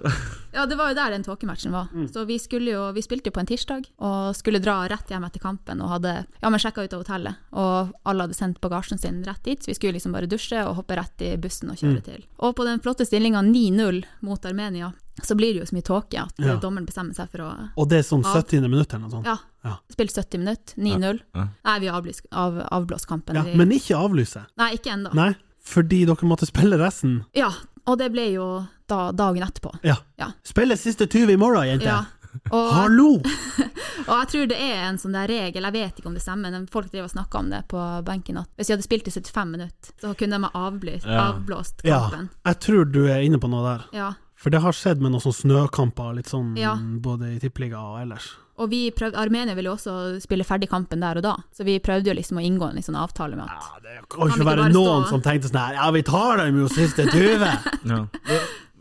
Ja, det var jo der den tåkematchen var. Mm. Så vi skulle jo, vi spilte jo på en tirsdag, og skulle dra rett hjem etter kampen, og hadde, ja, men sjekket ut av hotellet, og alle hadde sendt bagasjen sin rett dit, så vi skulle liksom bare dusje og hoppe rett i bussen og Mm. kjøre til. Og på den flotte stillingen 9-0 mot Armenia, så blir det jo så mye tåke at eh, Ja. dommeren bestemmer seg for å, Og det er sånn 70. minutt eller noe sånt. ja, Ja. spilt 70 minutter, 9-0. Ja, ja. Nei, vi avblåst, av, avblåst kampen. Ja, Vi- men ikke avlyse. Nei, ikke enda. Nei, fordi dere måtte spille resten. Ja, og det ble jo da, dagen etterpå. Ja. Ja. Spille siste 20 i morgen, Ja. jenter. Og, Hallo! og jeg tror det er en sånn der regel, jeg vet ikke om det stemmer, men folk drev og snakka om det på benken, at hvis de hadde spilt i 75 minutter, så kunne de ha avblåst, avblåst Ja, kampen. jeg tror du er inne på noe der. Ja. For det har skjedd med noen sånne snøkamper, litt sånn Ja. både i tippeliga og ellers. Og vi prøvde, Armenia ville jo også spille ferdig kampen der og da, så vi prøvde jo liksom å inngå en litt sånn avtale med at Ja, det kan Kan ikke vi ikke være bare noen stå- som tenkte sånn her Ja, vi tar dem jo siste 20! *laughs* Ja.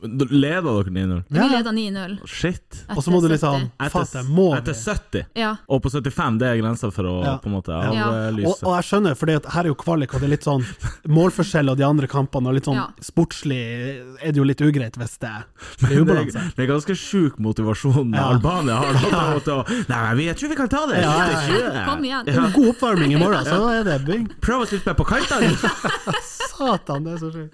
Da Leda dere 9-0? Vi ja. leda 9-0. Shit. etter Og så må du 70. liksom Fatte, må Etter vi? 70. Ja. Og på 75, det er grensa for å Ja. på en måte eh, Ja. Og, avlyse. og jeg skjønner, for her er jo kvalik, og det er litt sånn målforskjell og de andre kampene, og litt sånn Ja. sportslig er det jo litt ugreit hvis det blir Det er, ubalanse. det er ganske sjuk *laughs* motivasjon Ja. Albania har da. på en måte å- Nei, men vi- jeg tror vi kan ta det! Ja, ja, ja. Kom igjen. Ja. God oppvarming i morgen, så er det bygg. Prøv å slippe meg på *laughs* kantene! Satan, det er så sjukt.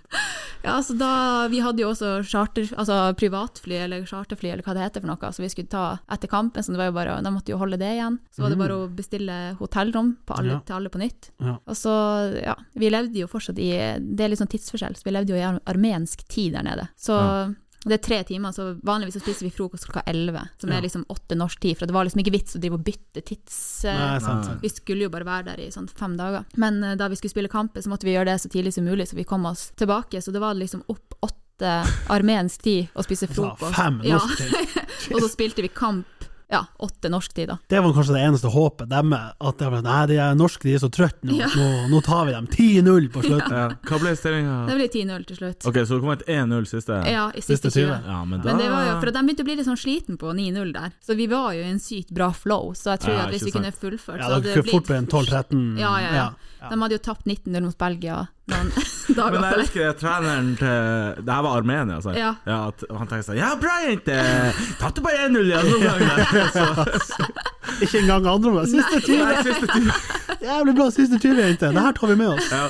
Ja, altså da, Vi hadde jo også charter, altså privatfly eller charterfly eller hva det heter for noe, så vi skulle ta etter kampen. Så det var jo bare, De måtte jo holde det igjen. Så var det bare å bestille hotellrom på alle, Mm. Ja. til alle på nytt. Ja. Og så, ja, Vi levde jo fortsatt i Det er litt sånn tidsforskjell, så vi levde jo i ar- armensk tid der nede. Så det er tre timer, så vanligvis så spiser vi frokost klokka elleve, som Ja. er liksom åtte norsk tid. For det var liksom ikke vits å drive og bytte tids... eh, Nei, sant, sant. vi skulle jo bare være der i sånn fem dager. Men eh, da vi skulle spille kampen, så måtte vi gjøre det så tidlig som mulig, så vi kom oss tilbake. Så det var liksom opp åtte armensk tid å spise Så frokost. fem Ja. norsk tid. *laughs* Og så spilte vi kamp ja, åtte norsk tid, da. Det var kanskje det eneste håpet demme, at det var, sånn, nei, de er norske, de er så trøtte nå. Ja. nå, nå tar vi dem 10-0 på *laughs* slutten. Ja. Hva ble stillinga? Det ble 10-0 til slutt. Ok, så det kom et 1-0 siste? Ja, i siste Siste 20. 20. Ja, men da Men det var jo, for de begynte å bli litt sånn sliten på 9-0 der, så vi var jo i en sykt bra flow. Så jeg tror Ja, at hvis ikke vi sant. kunne fullført, Ja, så dere hadde det kunne blitt fort bli en 12-13. Ja, ja, ja. De hadde jo tapt 19-0 mot Belgia *laughs* noen dager Men jeg før. elsker det, treneren til Det her var Armenia, altså. Ja. at han tenker sånn Ja, bra, jente! Tapte bare 1-0 igjen *laughs* noen ganger! Så, *laughs* Ikke engang andre omgang. Siste 20! nei, siste tur. Jævlig bra siste 20, jente. Det her tar vi med oss. Ja.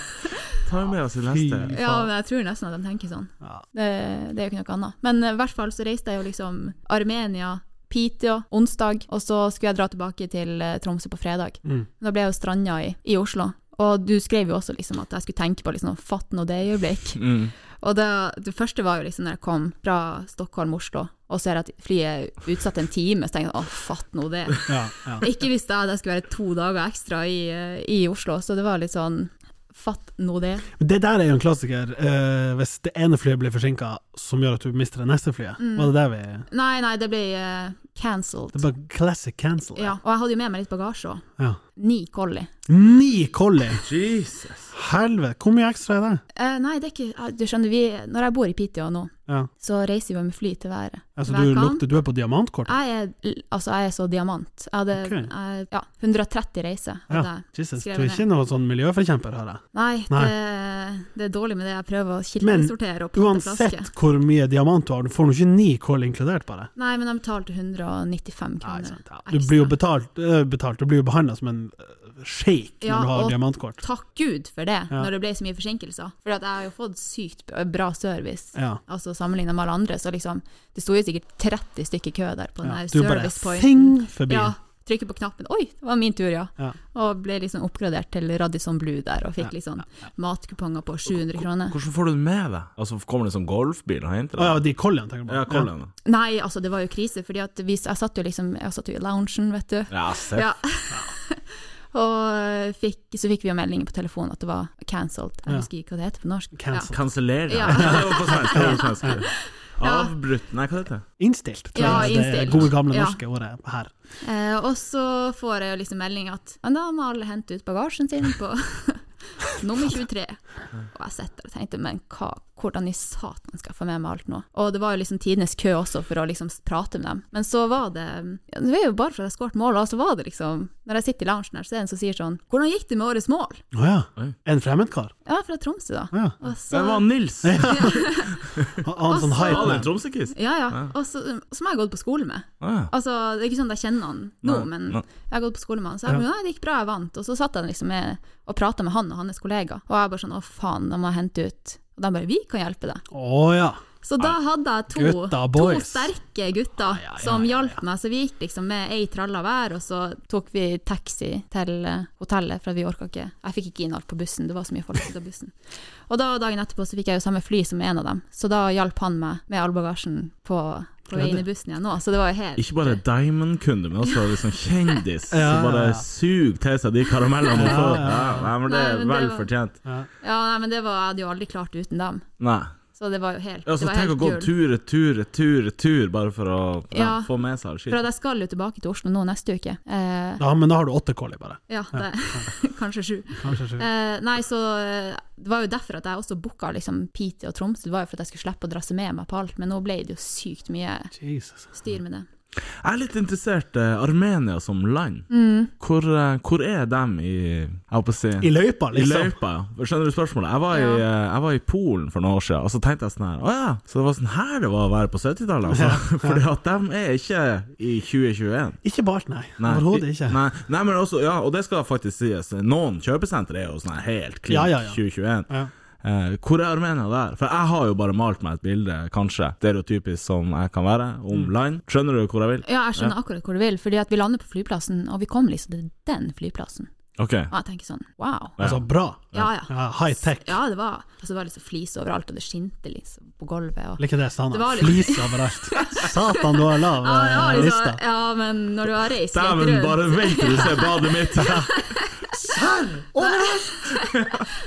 Tar vi med oss i neste. Ja, men jeg tror nesten at de tenker sånn. Ja. Det, det er jo ikke noe annet. Men eh, i hvert fall så reiste jeg jo liksom Armenia, Piteå, onsdag, og så skulle jeg dra tilbake til eh, Tromsø på fredag. Mm. Da ble jeg jo stranda i, i Oslo. Og du skrev jo også liksom at jeg skulle tenke på liksom fatt nå det øyeblikk. Mm. Og det, det første var jo liksom når jeg kom fra Stockholm, Oslo, og ser at flyet er utsatt en time, så tenker jeg å, fatt nå det. Ja, ja. Ikke visste jeg at jeg skulle være to dager ekstra i, eh, i Oslo, så det var litt sånn fatt nå det. Det der er jo en klassiker. eh, hvis det ene flyet blir forsinka, som gjør at du mister det neste flyet. Mm. Var det der vi Nei, nei, det ble eh, cancelled. Det var classic cancel. Ja, og jeg hadde jo med meg litt bagasje òg. Ja. Ni collie. Ni collie! Jesus. Helvete, hvor mye ekstra er det? Eh, nei, det er ikke eh, Du skjønner, vi, når jeg bor i Piteå nå, Ja. så reiser vi med fly til været. Altså, Hver du, kamp. lukter, du er på diamantkort? Jeg er, l- altså, jeg er så diamant. Jeg hadde Ok. jeg- ja, 130 reiser. hadde Ja. jeg. Jesus, du skrev er ikke noen sånn miljøforkjemper, hører jeg. Nei, det, det er dårlig med det. Jeg prøver å kildesortere og putte flasker. Uansett hvor mye diamant du har, du får nå ikke ni kål inkludert, bare. Nei, men jeg betalte 195 Nei, kroner. sant, ja. Du blir jo ekstra. betalt, øh, betalt Du blir jo behandla som en øh, sjeik Ja, når du har og- diamantkort. Takk Gud for det, Ja. når det ble så mye forsinkelser. For at jeg har jo fått sykt b- bra service. Ja. Altså Sammenlignet med alle andre, så liksom Det sto jo sikkert 30 stykker i kø der på den Ja. her Du bare service pointen. sing forbi. Ja, trykker på knappen. Oi, det var min tur, ja. Ja. Og ble liksom oppgradert til Radisson Blue der, og fikk liksom matkuponger på 700 kroner. Hvordan får du det med deg? Altså, Kommer det en sånn golfbil og henter Å ja, deg? de colliene, tenker du på. Ja, Colin. Nei, altså, det var jo krise, fordi at vi, jeg satt jo liksom Jeg satt jo i loungen, vet du. Ja, se. Ja. *laughs* og fikk, så fikk vi jo melding på telefonen at det var cancelled. Jeg Ja. husker ikke hva det heter på norsk. Cancelled. *laughs* Kansellere. Ja. Det var på svensk. Det var på svensk. Avbrutt Nei, hva heter det? Innstilt, tror Ja, jeg det er innstilt. gode, gamle Ja. norske året her. Eh, og så får jeg jo liksom melding at Men da må alle hente ut bagasjen sin på *laughs* nummer 23. Og jeg sitter der og tenkte men hva, hvordan i satan skal jeg få med meg alt nå? Og det var jo liksom tidenes kø også for å liksom prate med dem. Men så var det ja, Det var jo bare for at jeg skåret mål, og så var det liksom Når jeg sitter i loungen her, så er det en som sier sånn Hvordan gikk det med årets mål? Å ja. Oi. En fremmedkar? Ja, fra Tromsø, da. Ja. Og så, Det var Nils! Ja, Han han sånn Altså- hype det er en man. tromsekist. ja, ja. Og så, som jeg har gått på skole med. Ah, ja. Altså, det er ikke sånn at jeg kjenner han nå, Nei, men nei. jeg har gått på skole med han, så jeg bare, nei, det gikk bra, jeg vant. Og så satt jeg liksom med, og prata med han og hans kollega, og jeg bare sånn, å faen, da må jeg hente ut. Og de bare, vi kan hjelpe deg. Å ja. Så da hadde jeg to, Gutta to boys. sterke gutter ja, ja, som ja, hjalp meg, så vi gikk liksom med ei tralla hver, og så tok vi taxi til eh, hotellet, for vi orka ikke Jeg fikk ikke inn alt på bussen, det var så mye folk ute *laughs* av bussen. Og da dagen etterpå så fikk jeg jo samme fly som en av dem, så da hjalp han meg med all bagasjen på, på vei inn i bussen igjen nå, så det var jo helt Ikke bare Diamond-kunde, men også liksom kjendis Ja, ja, som bare ja. suger til seg de karamellene hun Ja, får. ja, Ja, nei, men det Nei, er men det vel var- fortjent. Ja, nei, men det var, jeg hadde jo aldri klart uten dem. Nei. Så det var jo helt, Altså, det var tenk å helt gå gull. tur, tur, tur, tur, bare for å ja, Ja. få med seg all For skitt. at jeg skal jo tilbake til Oslo nå neste uke. Eh, ja. Men da har du åtte kolli, bare. ja, det, *laughs* kanskje sju. Kanskje sju. Eh, nei, så eh, det var jo derfor at jeg også booka liksom, Pite og Tromsø. Det var jo for at jeg skulle slippe å drasse med meg på alt, men nå ble det jo sykt mye Jesus. styr med det. Jeg er litt interessert i Armenia som land. Mm. Hvor, eh, hvor er dem i Jeg holdt på å si I løypa, I liksom. løypa, ja. Skjønner du spørsmålet? Jeg var, i, eh, jeg var i Polen for noen år siden, og så tenkte jeg sånn her Å ja, så det var sånn her det var å være på 70-tallet, altså. *laughs* Fordi at de er ikke i 2021. Ikke bart, nei. Nei, Overhodet ikke. Nei, nei, men også, ja, og det skal faktisk sies. Noen kjøpesentre er jo sånn her helt klink Ja, ja, ja. 2021. Ja. Eh, hvor er Armenia der? For jeg har jo bare malt meg et bilde, kanskje, stereotypisk som jeg kan være, om land. Skjønner du hvor jeg vil? Ja, jeg skjønner akkurat hvor du vil, fordi at vi lander på flyplassen, og vi kom liksom til den flyplassen. Ok. Og jeg tenker sånn wow. Altså, bra. Ja ja. Ja, high tech. Ja, det var, altså, det var liksom flis overalt, og det skinte liksom på gulvet. Og, Liker det standard. Det var litt- Flis overalt. *laughs* Satan, du har lav ja, det var eh, liksom, lista. ja, men når du har reist litt Dæven, rundt bare vent til du ser badet mitt! *laughs*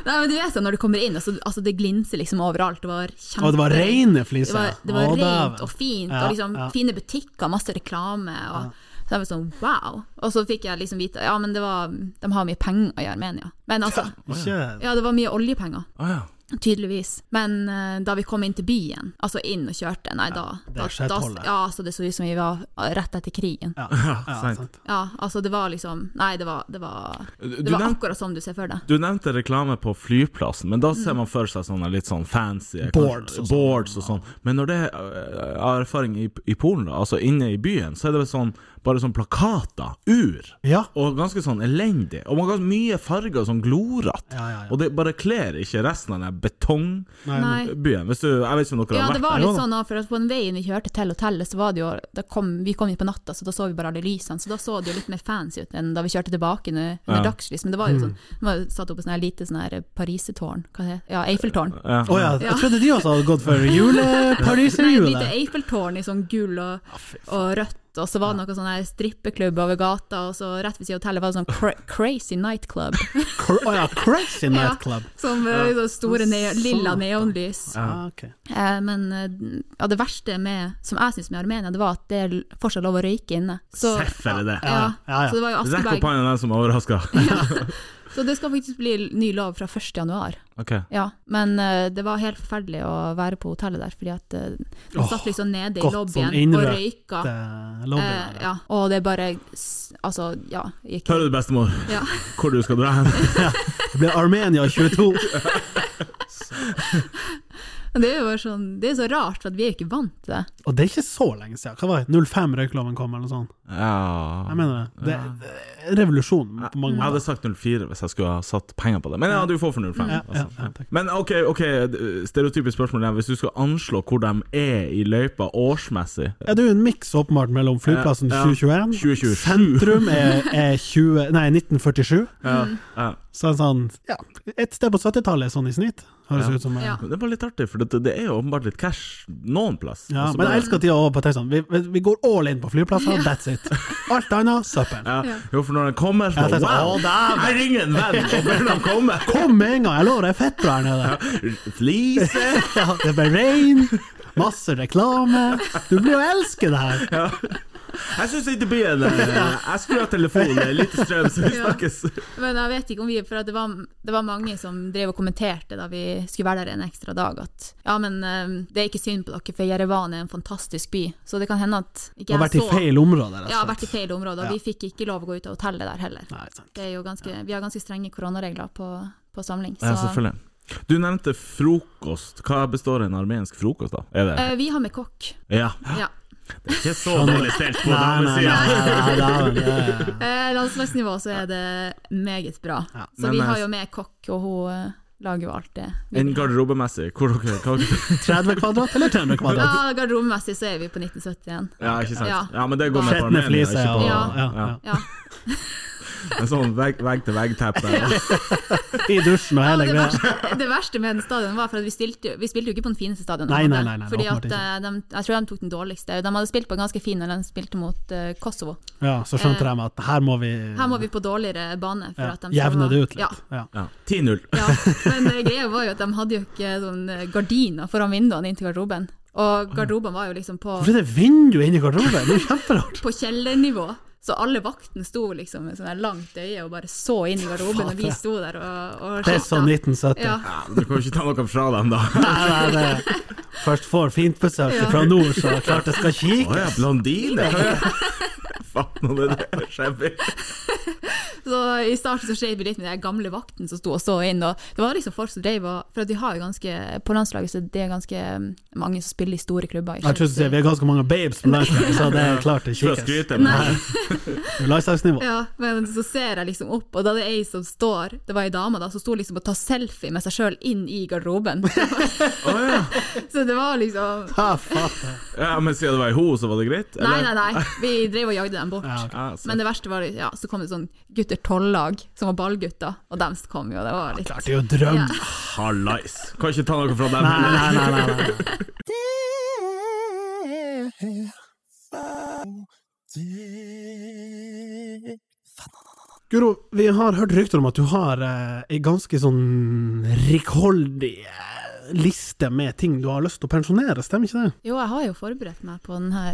Nei, men du vet jo når du kommer inn, altså, altså det glinser liksom overalt. Det var kjempe... Og det var reine fliser. Det var, det var Å, rent dæven. og fint, Ja, og liksom ja. fine butikker, masse reklame. Og, Så jeg var sånn wow. Og så fikk jeg liksom vite ja, men det var, de har mye penger i Armenia. Men altså, Ikke ja, det var mye oljepenger, Å Ah, ja. tydeligvis. Men eh, da vi kom inn til byen, altså inn og kjørte, nei da det da, skjedde da holdet. Ja, altså det så ut som vi var rett etter krigen. Ja, Ja, ja, sant. sant. altså det var liksom Nei, det var, det var, Du det var nevnte- akkurat som du ser for deg. Du nevnte reklame på flyplassen, men da ser man for seg sånne litt sånn fancy kanskje- Boards og sånn. boards og sånn. Men når det er øh, av erfaring i, i Polen, da, altså inne i byen, så er det vel sånn bare sånn plakater, ur, Ja. og ganske sånn elendig. Og man har mye farger og sånn glorete. Ja, ja, ja. Og det bare kler ikke resten av den betongbyen. Nei, Nei. Hvis du, jeg vet ikke om dere Ja, har det vært der. var litt sånn også, for at på den veien vi kjørte til hotellet, så var det jo da kom, Vi kom inn på natta, så da så vi bare alle lysene, så da så det jo litt mer fancy ut enn da vi kjørte tilbake under, under Ja. dagslys. Men det var jo sånn Det var jo satt opp et sånn her lite sånn her parisetårn, hva heter det? Ja, Eiffeltårn. Ja. Å ja, jeg trodde de også hadde gått for Nei, et lite julepariserhjulet. Eiffeltårn i sånn gull og, og rødt, og så var det noe sånn her strippeklubb over gata, og så rett ved siden av hotellet var det sånn cra crazy nightclub. Cra å ja, crazy *laughs* Ja, nightclub. som eh, sånne store neo lilla neonlys. Ah, ok. Eh, Men eh, ja, det verste med, som jeg syns med Armenia, det var at det er fortsatt lov å røyke inne. Så, Seff er det det. Ja, Ja, ja, ja. Så det var jo Rekk opp Askeberg. hånda den som er overraska. Så det skal faktisk bli ny lov fra 1. januar. *laughs* Ok. Ja, men eh, det var helt forferdelig å være på hotellet der, fordi at eh, man Åh, satt liksom nede i godt, lobbyen sånn og innrøkt, røyka. Eh, Eh, Lobbyen. ja, og det bare s- Altså, ja. Gikk, Hører du, bestemor, ja. hvor du skal dra *laughs* hen? Det ble Armenia 22. Men Det er jo bare sånn Det er så rart, for at vi er jo ikke vant til det. Og det er ikke så lenge siden. Hva var det? 05 røykloven kom, eller noe sånt? Ja. Jeg mener det. Det, det er revolusjon på mange Jeg hadde måter. sagt 04 hvis jeg skulle ha satt penger på det, men ja, du får for 05. Ja, ja, altså. ja, takk. Men ok, ok, stereotypisk spørsmål igjen. Hvis du skal anslå hvor de er i løypa årsmessig Ja, det er jo en miks åpenbart mellom flyplassen Ja, ja. 2021 2027. Sentrum er, er 20, nei, 1947. ja, ja. Så en sånn, ja, et sted på 70-tallet sånn i snitt. Høres Ja. ut som eh, Ja. Men Det er bare litt artig, for det, det er jo åpenbart litt cash noen plass. Ja, Altså, men bare- jeg elsker at de har på Tesson. Vi, vi- vi går all in på flyplasser, that's it. Alt annet, søppel. ja. Jo, for når den kommer, så Ja, det er sånn, wow! å, Jeg ringer en venn og ber dem komme! Kom med en gang, jeg lover, det er fett bra her nede. Flise! Ja, det ble regn, Masse reklame. Du blir jo elske det her. Jeg syns ikke det blir en *laughs* eh, Jeg skrur av telefonen, det er lite strøm, så vi Ja. snakkes. Men jeg vet ikke om vi For at det var, det var mange som drev og kommenterte da vi skulle være der en ekstra dag, at ja, men eh, det er ikke synd på dere, for Jerevan er en fantastisk by. Så det kan hende at ikke Du har jeg vært i så feil område. rett og Ja, slett. vært i feil område. og Vi fikk ikke lov å gå ut av hotellet der heller. Nei, sant. Det er jo ganske, vi har ganske strenge koronaregler på, på samling. Ja, så- selvfølgelig. Du nevnte frokost. Hva består en armensk frokost av? Er det Eh, vi har med kokk. Ja. Ja. Det er ikke så dårlig stelt på Nei, nei, damesida. nei, nei, nei, nei, nei. Eh, landslagsnivå så er det meget bra. Men, Så vi eh, har jo med kokk, og hun eh, lager jo alt det. vi En vil ha. garderobemessig hvor dere hva 30 dere- kvadrat eller 300 kvadrat? Ja, garderobemessig så er vi på 1971. Ja, ikke sant? Ja. Ja, men det går med på Skjetne Armenia, fliser ikke og på ja, Ja. ja. Ja. en sånn *laughs* vegg-til-vegg-teppe. I dusjen og Ja, hele det, greia. verste, *laughs* det verste med den stadion var for at vi spilte, jo- vi spilte jo ikke på den fineste stadion. Nei, på en nei, måte. nei, nei, fordi at åpenbart ikke. eh, de, Jeg tror de tok den dårligste. De hadde spilt på en ganske fin, og de spilte mot eh, Kosovo. Ja, så skjønte de at her må vi, Eh, Her må vi på dårligere bane. For ja, at de skal jevne ha- det ut Ja, litt. Ja. Ja. 10-0. ja. Men eh, greia var jo at de hadde jo ikke sånn eh, gardiner foran vinduene inn til garderoben. Og garderoben var jo liksom på, Hvorfor er det vindu inni garderoben? Det er jo kjemperart. på kjellernivå. Så alle vaktene sto liksom med sånn her langt øye og bare så inn i garderoben, og vi sto der og, og Det er sjekket. sånn 1970. Ja. Ja, men du kan jo ikke ta noe fra dem, da. Nei, nei, det Først får fint besøk Ja. fra nord, så klart det skal Å kikke. ja, *laughs* blondine! Faen, nå er det der shabby. Så I starten så skjedde det litt med den gamle vakten som sto og så inn. Og det var liksom folk som drev og For at vi har jo ganske På landslaget så det er ganske um, mange som spiller i store klubber. ikke Jeg tror du sant? sier vi er ganske mange babes på landslaget, så det er klart det Skal jeg kikkes. skryte, men Landslagsnivå. Ja, men så ser jeg liksom opp, og da det er ei som står Det var ei dame da som sto liksom og tar selfie med seg sjøl inn i garderoben. *laughs* så det var liksom Ja, faen. ja, men siden det var i ho, så var det greit? Nei, nei, nei. Vi drev og jagde dem bort. Ja, Ja, så- Men det verste var ja, så kom det sånn gutter tolv-lag som var ballgutter, og dem kom jo, det var litt Klart det er jo drøm. Ja. Hallais! Kan ikke ta noe fra dem. Nei, heller. nei, nei, nei, nei. Guro, vi har hørt rykter om at du har eh, ei ganske sånn rikholdig eh, liste med ting du har lyst til å pensjonere, stemmer ikke det? Jo, jeg har jo forberedt meg på denne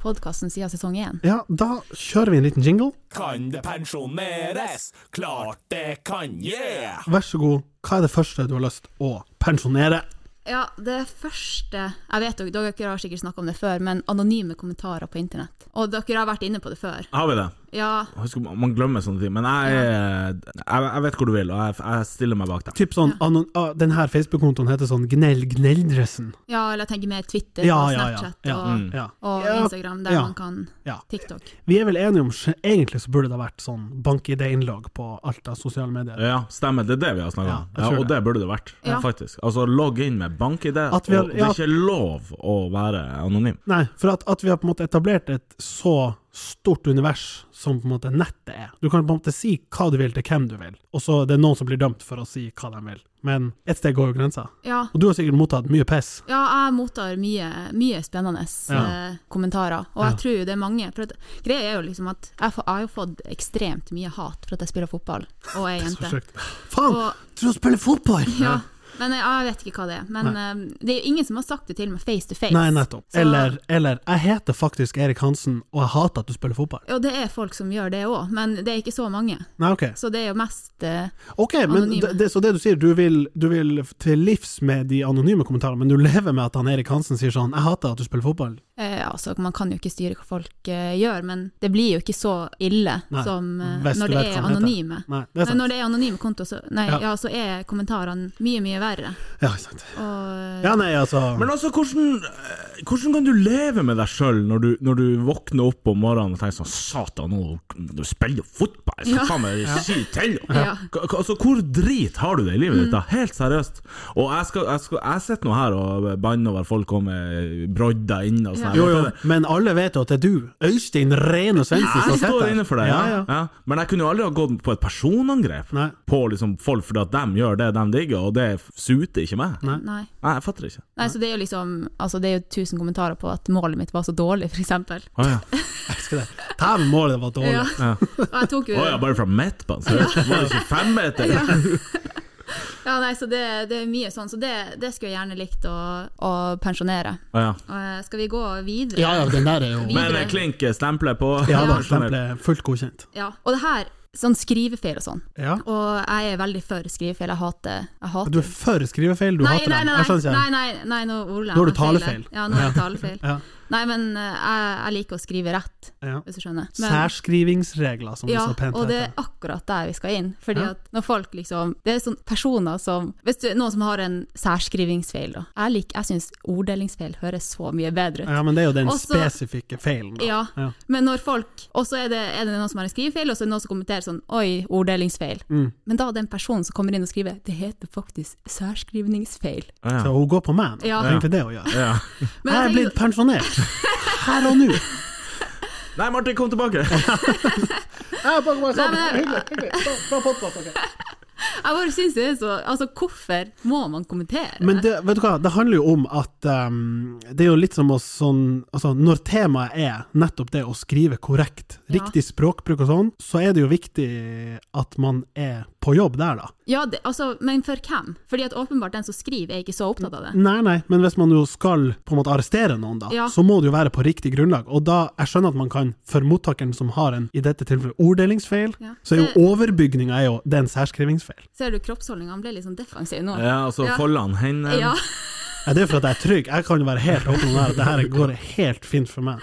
podkasten siden sesong én. Ja, da kjører vi en liten jingle. Kan det pensjoneres? Klart det kan, yeah! Vær så god, hva er det første du har lyst til å pensjonere? Ja, det første Jeg vet dere, dere har sikkert snakka om det før, men anonyme kommentarer på internett. Og dere har vært inne på det før. Har vi det? Ja, Husk, man glemmer sånne ting. Men jeg, er- jeg, jeg vet hvor du vil, og jeg, jeg stiller meg bak deg. Typ sånn, anon ah, den her Facebook-kontoen heter sånn Gnell Gneldressen. ja eller jeg tenker mer Twitter Ja, og ja, ja. Snapchat Ja, og, ja. Mm. og Ja, Instagram, der ja. man kan Ja. TikTok. Vi er vel enige om sj- egentlig så burde det ha vært sånn bank-ID-innlogg på alt av sosiale medier. Ja, stemmer. Det er det vi har snakka om. Ja, jeg Ja, tror og det burde det vært, Ja. faktisk. Altså, logg inn med bank-ID. At vi har- og Det ja. er ikke lov å være anonym. Nei, for at, at vi har på en måte etablert et så stort univers som på en måte nettet er. Du kan på en måte si hva du vil til hvem du vil, og så er det noen som blir dømt for å si hva de vil. Men ett sted går jo grensa. Ja. Og du har sikkert mottatt mye piss. Ja, jeg mottar mye, mye spennende Ja. eh, kommentarer, og Ja. jeg tror jo det er mange. For at, greia er jo liksom at jeg, får- jeg har jo fått ekstremt mye hat for at jeg spiller fotball og *laughs* er Så jente. sjukt. Faen, Og- tror du spiller fotball? Ja, men jeg, jeg vet ikke hva det er. Men eh, det er jo ingen som har sagt det til meg face to face. Nei, nettopp. Så- Eller, eller jeg heter faktisk Erik Hansen, og jeg hater at du spiller fotball. Og det er folk som gjør det òg, men det er ikke så mange. Nei, ok. Så det er jo mest eh, Ok, men Anonyme. det, det, Så det du sier, du vil, du vil til livs med de anonyme kommentarene, men du lever med at han Erik Hansen sier sånn 'Jeg hater at du spiller fotball'. eh, Altså, man kan jo ikke styre hva folk eh, gjør, men det blir jo ikke så ille Nei, som eh, hvis du når det vet hva er han heter. anonyme. Nei, det er Men sant. når det er anonyme kontoer, så, nei, Ja. ja. så er kommentarene mye, mye verre. Ja, ikke sant. Eh. Og, Ja, nei, altså Men altså, hvordan, eh, hvordan kan du leve med deg sjøl når, du- når du våkner opp om morgenen og tenker sånn Satan, nå du spiller jo fotball! Jeg skal Ja. faen meg si til! Ja. K- k- Altså, hvor drit har du det i livet ditt, da? Helt seriøst. Og jeg, skal, jeg, skal, jeg sitter nå her og banner over folk kommer brodda inn og sånn. Ja. her. Jo, jo, men alle vet jo at det er du. Øystein Rene Svendsen som Jeg står sitter her. inne for det, ja, Ja, ja. ja. Men jeg kunne jo aldri ha gått på et personangrep Nei. på liksom folk fordi at de gjør det de digger, og det suter ikke meg. Nei, nei. jeg fatter ikke. Nei, så det er jo liksom Altså, det er jo tusen kommentarer på at målet mitt var så dårlig, for eksempel. Å ja. Jeg elsker det. Dæven, målet var dårlig. Ja. Og jeg tok jo Å ja, bare fra midtbanen? så Det var ikke femmeter? *laughs* Ja. Ja, nei, så det, det er mye sånn, så det, det skulle jeg gjerne likt å, å pensjonere. Ah, ja. Eh, skal vi gå videre? Ja, ja, den der er jo Videre. Men eh, klink, stemple på. Ja da, Ja. stempelet er fullt godkjent. Ja, Og det her, sånn skrivefeil og sånn. Ja. Og jeg er veldig for skrivefeil. Jeg hater, jeg hater. Du er for skrivefeil, du nei, hater nei, dem. nei, Jeg skjønner nei, ikke. nei, nei, nei, nå ordlegger Nå har du jeg meg talefeil. Ja, nå er jeg talefeil. Ja. Nei, men eh, jeg, jeg liker å skrive rett, Ja. hvis du skjønner. Men- Særskrivingsregler, som Ja, det så pent og det heter. er akkurat der vi skal inn. Fordi Ja. at når folk liksom Det er sånne personer som Hvis du noen som har en særskrivingsfeil, da. Jeg, lik- jeg syns orddelingsfeil høres så mye bedre ut. Ja, men det er jo den Også- spesifikke feilen. da. Ja. Ja. men når folk Og så er det, er det noen som har en skrivefeil, og så er det noen som kommenterer sånn Oi, orddelingsfeil. Mm. Men da den personen som kommer inn og skriver Det heter faktisk særskrivningsfeil. Ah, Så ja. hun går på meg nå. Ja. Det er egentlig det hun gjør. Ja. Jeg Men er tenker- blitt pensjonert. Her og nå. Nei, Martin, kom tilbake! Jeg pakker meg sammen. Nei, men- Hyggelig. hyggelig. Bra podcast, ok. Jeg bare syns det er så Altså, hvorfor må man kommentere? Men det, vet du hva, det handler jo om at ehm, det er jo litt som å sånn Altså, når temaet er nettopp det å skrive korrekt, Ja. riktig språkbruk og sånn, så er det jo viktig at man er på jobb der, da. ja, det, altså, men for hvem? Fordi at åpenbart den som skriver, er ikke så opptatt av det. Nei, nei, men hvis man jo skal på en måte arrestere noen, da, Ja. så må det jo være på riktig grunnlag. Og da, jeg skjønner at man kan, for mottakeren som har en, i dette tilfellet, orddelingsfeil, Ja. så er Det- jo overbygninga er jo det er en særskrivingsfeil. Ser du kroppsholdninga? Han ble litt sånn defensiv nå. *laughs* Ja, altså Ja. Folland, hendene Ja. Ja, det er for at jeg er trygg. Jeg kan jo være helt åpen om det her, at det her går helt fint for meg.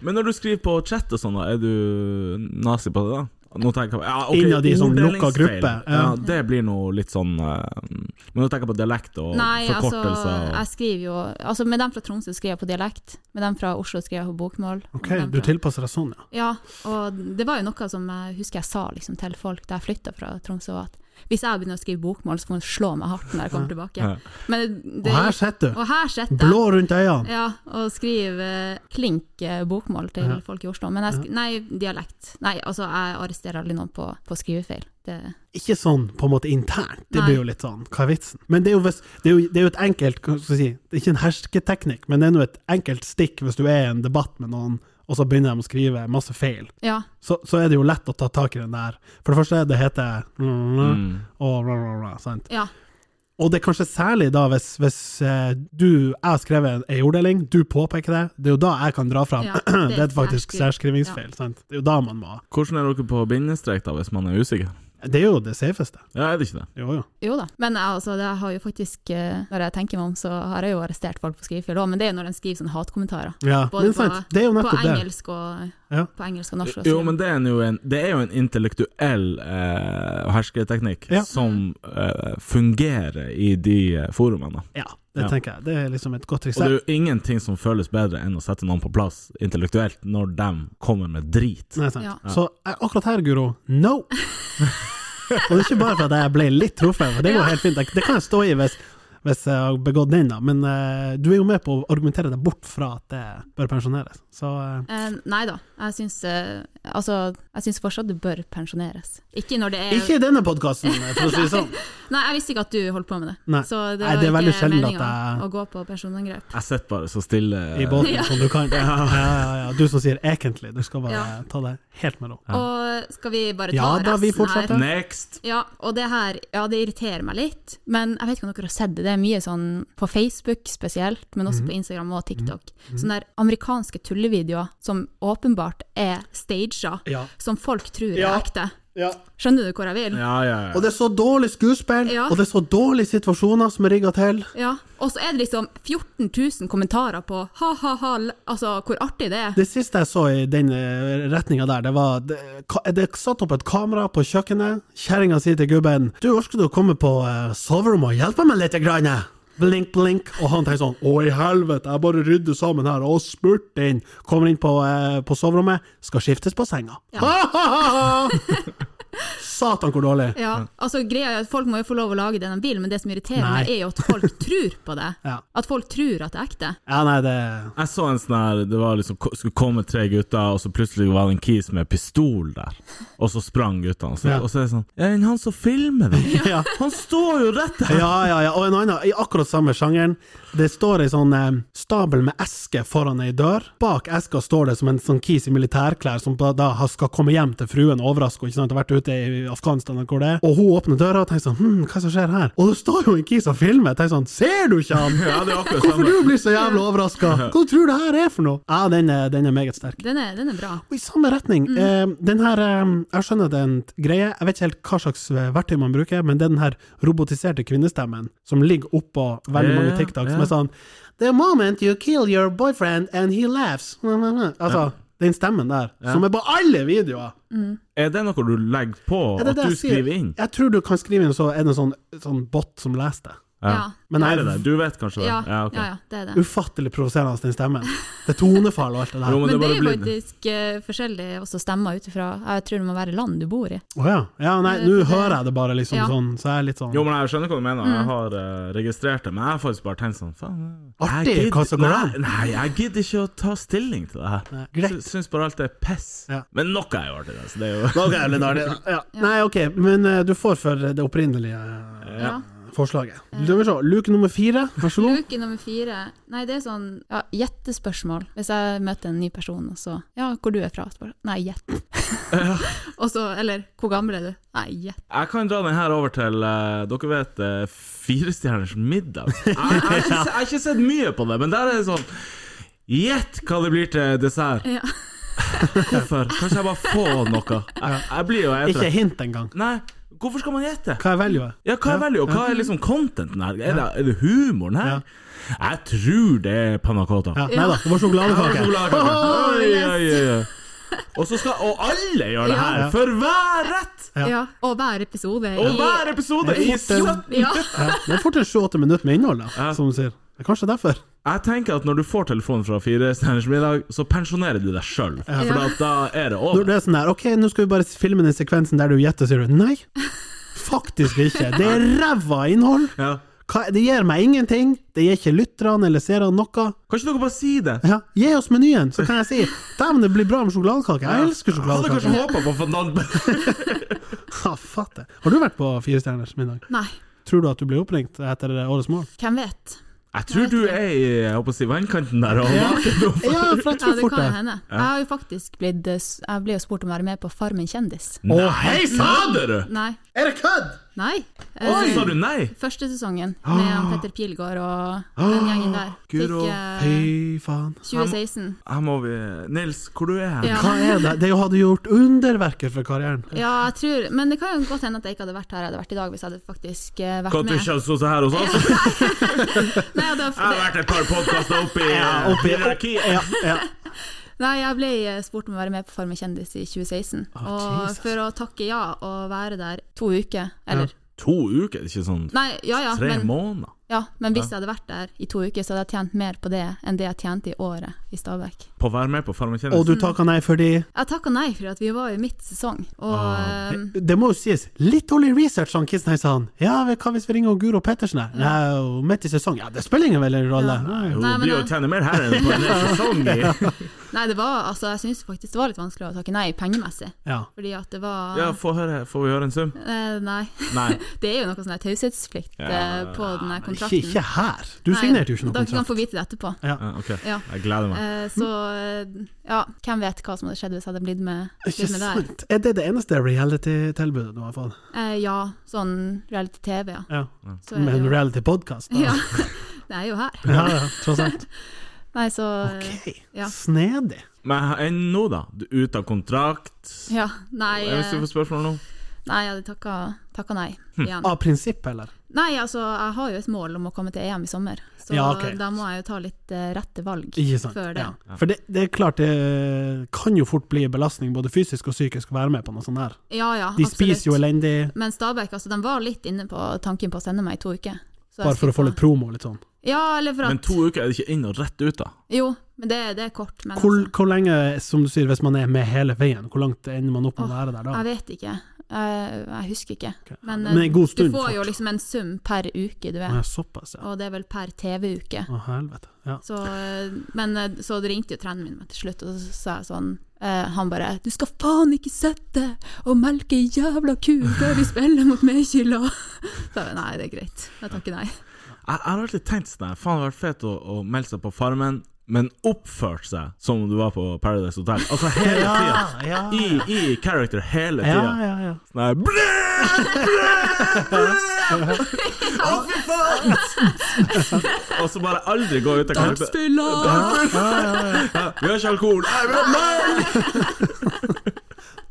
Men når du skriver på chat og sånn, da, er du nazi på det da? Nå tenker jeg på, ja, ok, Innad i sånn lukka orddelingsfeil. gruppe, Ja. ja. det blir nå litt sånn eh, Men nå tenker jeg på dialekt og *laughs* Nei, altså, forkortelser. og- jeg skriver jo Altså, med dem fra Tromsø skriver jeg på dialekt, med dem fra Oslo skriver jeg på bokmål. og Ok, med dem Du fra- tilpasser deg sånn, ja. Ja, og det var jo noe som jeg husker jeg sa liksom til folk da jeg flytta fra Tromsø, at hvis jeg begynner å skrive bokmål, så får hun slå meg hardt når jeg kommer tilbake. Men Og det, her sitter du, og her sitter jeg. blå rundt øynene. Ja, og skriver klink eh, bokmål til folk i Oslo. Men jeg, sk- nei, dialekt. Nei, altså, jeg arresterer aldri noen på, på skrivefeil. Det, Ikke sånn på en måte internt, det Nei. blir jo litt sånn, hva er vitsen? Men det er jo, hvis, det er jo, det er jo et enkelt, hva skal jeg si, det er ikke en hersketeknikk, men det er nå et enkelt stikk hvis du er i en debatt med noen, og så begynner de å skrive masse feil. ja. så, så er det jo lett å ta tak i den der. For det første, det heter og, sant? ja. og det er kanskje særlig da hvis, hvis eh, du Jeg har skrevet ei orddeling, du påpeker det. Det er jo da jeg kan dra fram. Ja, *clears throat* det, det er er faktisk særskriv- særskrivingsfeil. Sant? Det er jo da man må Hvordan er dere på bindestrek, da, hvis man er usikker? Det er jo det safeste. Ja, er det ikke det? Jo, jo. Jo da, men jeg, altså, jeg har jo faktisk, eh, når jeg tenker meg om, så har jeg jo arrestert folk på skrivefeil òg, men det er jo når de skriver sånne hatkommentarer. Ja, Både men sant, det er jo på, på, nettopp det. engelsk og, Ja. på engelsk og norsk. og så Jo, videre. men det er jo en, det er jo en intellektuell eh, hersketeknikk Ja. som eh, fungerer i de eh, forumene. Ja, det Ja. tenker jeg. Det er liksom et godt triks. Og det er jo ingenting som føles bedre enn å sette noen på plass intellektuelt, når de kommer med drit. Nei, sant. Ja. Så eh, akkurat her, Guro, *laughs* no! og det er ikke bare for at jeg ble litt truffet, for det går Ja. helt fint. Det- Det kan jeg stå i hvis, hvis jeg har begått den, da. Men eh, du er jo med på å argumentere deg bort fra at det bør pensjoneres. Så eh, Eh, nei da, jeg syns eh, altså, jeg syns fortsatt du bør pensjoneres. Ikke når det er ikke i denne podkasten, for å si det sånn. Nei, jeg visste ikke at du holdt på med det. Nei. Så det, Nei, det var er ikke veldig sjelden at meningen jeg- å gå på personangrep. Jeg sitter bare så stille. *laughs* I båten Ja. som du kan. Ja, ja, ja. Du som sier 'egentlig', du skal bare Ja. ta det helt med ro. Og skal vi bare ta Ja da, vi resten fortsetter. her? Next! Ja, og det her, ja, det irriterer meg litt. Men jeg vet ikke om dere har sett det, det er mye sånn på Facebook spesielt, men også Mhm. på Instagram og TikTok. Sånne der amerikanske tullevideoer som åpenbart er staged, Ja. som folk tror Ja. er ekte. Ja. Skjønner du hvor jeg vil? Ja, Ja. ja, ja. Og det er så dårlig skuespill, Ja. og det er så dårlige situasjoner som er rigga til. Og så er det liksom 14 000 kommentarer på ha-ha-ha, altså hvor artig det er. Det siste jeg så i den retninga der, det var det, ka- det satt opp et kamera på kjøkkenet. Kjerringa sier til gubben 'Du, orker du å komme på eh, soverommet og hjelpe meg litt?' Grann? eh?» Blink, blink. Og han tenker sånn 'Å, i helvete, jeg bare rydder sammen her', og spurt inn. Kommer inn på, eh, på soverommet, skal skiftes på senga. *laughs* Satan, hvor dårlig. Ja, altså greia er at Folk må jo få lov å lage det de vil, men det som irriterer Nei. meg, er jo at folk tror på det. Ja. At folk tror at det er ekte. Ja, nei, det Jeg så en sånn her Det var liksom, ko- skulle komme tre gutter, og så plutselig var det en kis med pistol der. Og så sprang guttene. Og så, Ja. og så er det sånn Ja, men han som filmer det, Ja. han står jo rett *laughs* der! Ja, ja, ja. Og en annen, i akkurat samme sjangeren, det står ei sånn eh, stabel med esker foran ei dør. Bak eska står det som en sånn kis i militærklær som da, da har- skal komme hjem til fruen og overraske henne, ikke sant, har vært ute i Afghanistan, eller hvor det er. Og hun åpner døra og tenker sånn Hm, hva er det som skjer her? Og det står jo en kis og filmer! Jeg tenker sånn Ser du ikke *laughs* han?! Ja, det er akkurat sånn. Hvorfor samme. du blir så jævlig overraska? Hva tror du det her er for noe? Ja, den er, den er meget sterk. Den er, den er bra. Og i samme retning. Mm. Eh, den her, eh, jeg skjønner det er en t- greie, jeg vet ikke helt hva slags eh, verktøy man bruker, men det er den her robotiserte kvinnestemmen som ligger oppå veldig Ja, mange TikTok, som ja. er sånn The moment you kill your boyfriend and he laughs. Altså, den stemmen der, som er på alle videoer. Er det noe du legger på, Er det at det du jeg sier? skriver inn? Jeg tror du kan skrive inn, og så er det en sånn, sånn bot som leser det. Ja. Men Er det jeg det? er Du vet kanskje det? Ja, ja, ok. ja, det er det. ufattelig provoserende, den stemmen. Det er tonefall og alt det Jo, der. men, Men det det er jo bare blir faktisk eh, forskjellig også stemmer ut ifra Jeg tror det må være land du bor i. Å ja. ja. Nei, Det- nå det- hører jeg det bare, liksom, Ja. sånn, så jeg er litt sånn Jo, men jeg skjønner hva du mener, Mm. jeg har eh, registrert det, men jeg har faktisk bare tenkt sånn faen jeg Artig gidder- hva som går nei, an. Nei, jeg gidder ikke å ta stilling til det her. Nei, eh, greit. Sy- Syns bare alt er piss. Ja. Men noe er jo artig, da, så det er jo Noe er litt dårlig, da. Ja. Nei, ok, men eh, du får for det opprinnelige eh, Ja. forslaget. Du må se, luke nummer fire, vær så god. Luke nummer fire Nei, det er sånn ja, gjettespørsmål. Hvis jeg møter en ny person, og så Ja, hvor du er fra? Så bare, Nei, gjett. *laughs* og så Eller, hvor gammel er du? Nei, gjett. Jeg kan dra den her over til eh, Dere vet uh, Firestjerners *laughs* middag. Jeg, jeg, har ikke, se- jeg har ikke sett mye på det, men der er det sånn Gjett hva det blir til dessert. Ja. Hvorfor? Kanskje jeg bare får noe? Jeg, jeg blir jo Ikke eter. hint engang. Nei, hvorfor skal man gjette? Hva er value? Ja, hva er value, og hva er liksom contenten her? Er det, er det humoren her? Jeg tror det er panna cotta. Ja, nei da, det var sjokoladekake. Sjokoladekake. Oi, yes. oi, oi, oi. Og så skal Og alle gjør det her! Ja. For hver rett! Ja. Ja. Og hver episode Og i- hver episode i Fort en- *laughs* Ja. Ja, det er fort en sju-åtte minutter med innhold, da, som du sier. Det er kanskje derfor. Jeg tenker at når du får telefonen fra Fire stjerners middag, så pensjonerer du deg sjøl. For Ja. at da er det Når over. det er sånn der, ok, nå skal vi bare filme den sekvensen der du gjetter, sier du nei. Faktisk ikke. Det er ræva innhold. Ja. Hva, det gir meg ingenting. Det gir ikke lytterne eller seerne noe. Kan ikke dere bare si det? Ja, gi oss menyen, så kan jeg si Dæven, det blir bra med sjokoladekake. Jeg elsker Hadde kanskje sjokoladekake. håpa på fondant. Ha, fatt det. Har du vært på Fire stjerners middag? Nei, Tror du at du ble oppringt etter årets mål? hvem vet? Jeg tror du er i jeg håper å si, vannkanten der. Og *laughs* Ja, for jeg Ja, tror det fort kan jo det. hende. Jeg har jo faktisk blitt eh, s- Jeg ble jo spurt om å være med på Farmen kjendis. Å, hei fader! du! Nei. Er det kødd?! Nei. Og Eh, så sa du nei! Første sesongen med han Petter Pilgaard og den gjengen der. Fikk Guro. eh, Fy faen. 2016. Her må vi Nils, hvor du er hen? Ja. Hva er det? Det hadde gjort underverker for karrieren. Ja, jeg tror Men det kan jo godt hende at jeg ikke hadde vært her jeg hadde vært i dag, hvis jeg hadde faktisk eh, vært Kan du med. ikke ha stått her hos oss? Nei, jeg hadde- Jeg har vært et par podkaster oppe i Ja, oppi- hierarkiet. Ja, ja. Nei, jeg ble eh, spurt om å være med på Farmen kjendis i 2016. og for å takke ja og være der to uker, eller To uker, ikke sånn Nei, ja ja tre men, måneder? ja, men hvis jeg hadde vært der i to uker, så hadde jeg tjent mer på det enn det jeg tjente i året i Stabæk. På å være med på Farmen Og kjendis? du takka nei fordi Jeg takka nei, for at vi var jo midt sesong, og Ah, eh, Det må jo sies, litt dårlig research, han Kissen her sa han. Ja, vel, hva hvis vi ringer Guro Pettersen her? Nei, hun er midt i sesong. Ja, det spiller ingen veldig rolle. Nei. Hun Nei, men blir jo jeg- tjener mer her enn på *laughs* en hel sesong i Nei, det var Altså, jeg syns faktisk det var litt vanskelig å takke nei pengemessig, Ja. fordi at det var Ja, få høre, får vi høre en sum? eh, Nei. *laughs* Nei. Det er jo noe sånn her taushetsplikt eh, på den her Ikke, kontrakten. ikke her. Du Nei, signerte jo ikke noen Dere kan kontrakt. få vite det etterpå. Ja, ok, Ja. jeg gleder meg. Eh, så eh, ja, hvem vet hva som hadde skjedd hvis jeg hadde blitt med, Ikke blitt med der. sant? Er det det eneste reality-tilbudet du har fått? Eh, ja, sånn reality-TV, ja. Ja. Så er Med det en jo reality-podkast? Ja, det er jo her. ja, ja, tross alt. Nei, så eh, Ok, Ja. snedig. Men enn nå, da? Du er ute av kontrakt? Ja, nei, Jeg Hvis du eh, får spørsmål nå? nei jeg hadde takka, takka nei igjen. Av prinsipp, eller? Nei, altså, jeg har jo et mål om å komme til EM i sommer, så Ja, ok. da må jeg jo ta litt eh, rette valg Ikke sant. før det. Ja. For det, det er klart, det kan jo fort bli belastning, både fysisk og psykisk, å være med på noe sånt her. Ja ja, De spiser jo elendig, Men Stabæk, altså, de var litt inne på tanken på å sende meg i to uker. Så jeg bare for å få skulle litt promo og litt sånn. Ja, eller for at Men to uker er det ikke inn og rett ut, da? Jo, men det, det er kort. Men Hvor, altså, hvor lenge, som du sier, hvis man er med hele veien, hvor langt ender man opp med å være der jeg da? vet ikke. Jeg, jeg husker ikke. Men, Men en god stund, du får jo fort. liksom en sum per uke du Å, ja, er, såpass, ja. og det er vel per TV-uke. Å, helvete. Ja. Så, eh, men eh, så det ringte jo treneren min meg til slutt, og så sa jeg sånn eh, Han bare 'Du skal faen ikke sitte og melke ei jævla ku før vi spiller mot Mekila!' *laughs* Så jeg bare, nei, det er greit. Jeg takker nei. Jeg, jeg har alltid tenkt sånn her, faen det hadde vært fett å, å melde seg på Farmen, men oppførte seg som om du var på Paradise Hotel. Altså hele tida. Ja, ja, I, I character hele ja, tida. ja, ja. Sånn her «Blæ, blæ, blæ!» Å, fy faen! Og så bare aldri gå ut av character. Spiller! Ja, Vi har ikke alkohol! Nei, vi har melk!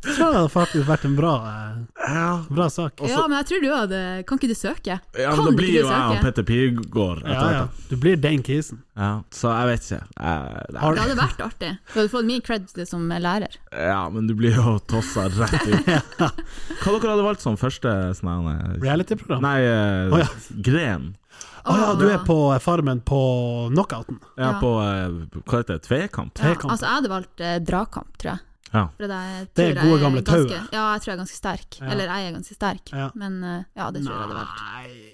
Jeg tror det hadde faktisk vært en bra, eh, bra sak. Ja, men jeg tror du hadde Kan ikke du søke? Ja, kan men da blir ikke jo jeg du og søke? Petter Pilgaard Ja, etter ja. hvert. Du blir den kisen. da. Ja, så jeg vet ikke. Eh, Jeg- nei. Det hadde vært artig. Du hadde fått min cred som lærer. Ja, men du blir jo tossa *laughs* rett ut. Hva dere hadde valgt som første sånn her, eh, Reality-program. Nei, eh, Å, ja. gren. Å ja, du er på eh, Farmen på knockouten. Ja, Ja. på eh, Hva heter det? Tvekamp? ja, T-kamp. Altså, jeg hadde valgt eh, dragkamp, tror jeg. Ja. For det, jeg Det er tror gode jeg gamle ganske- tauet. Ja, jeg tror jeg er ganske sterk. Ja. Eller jeg er ganske sterk, Ja. men eh, ja, det tror jeg jeg hadde valgt. Nei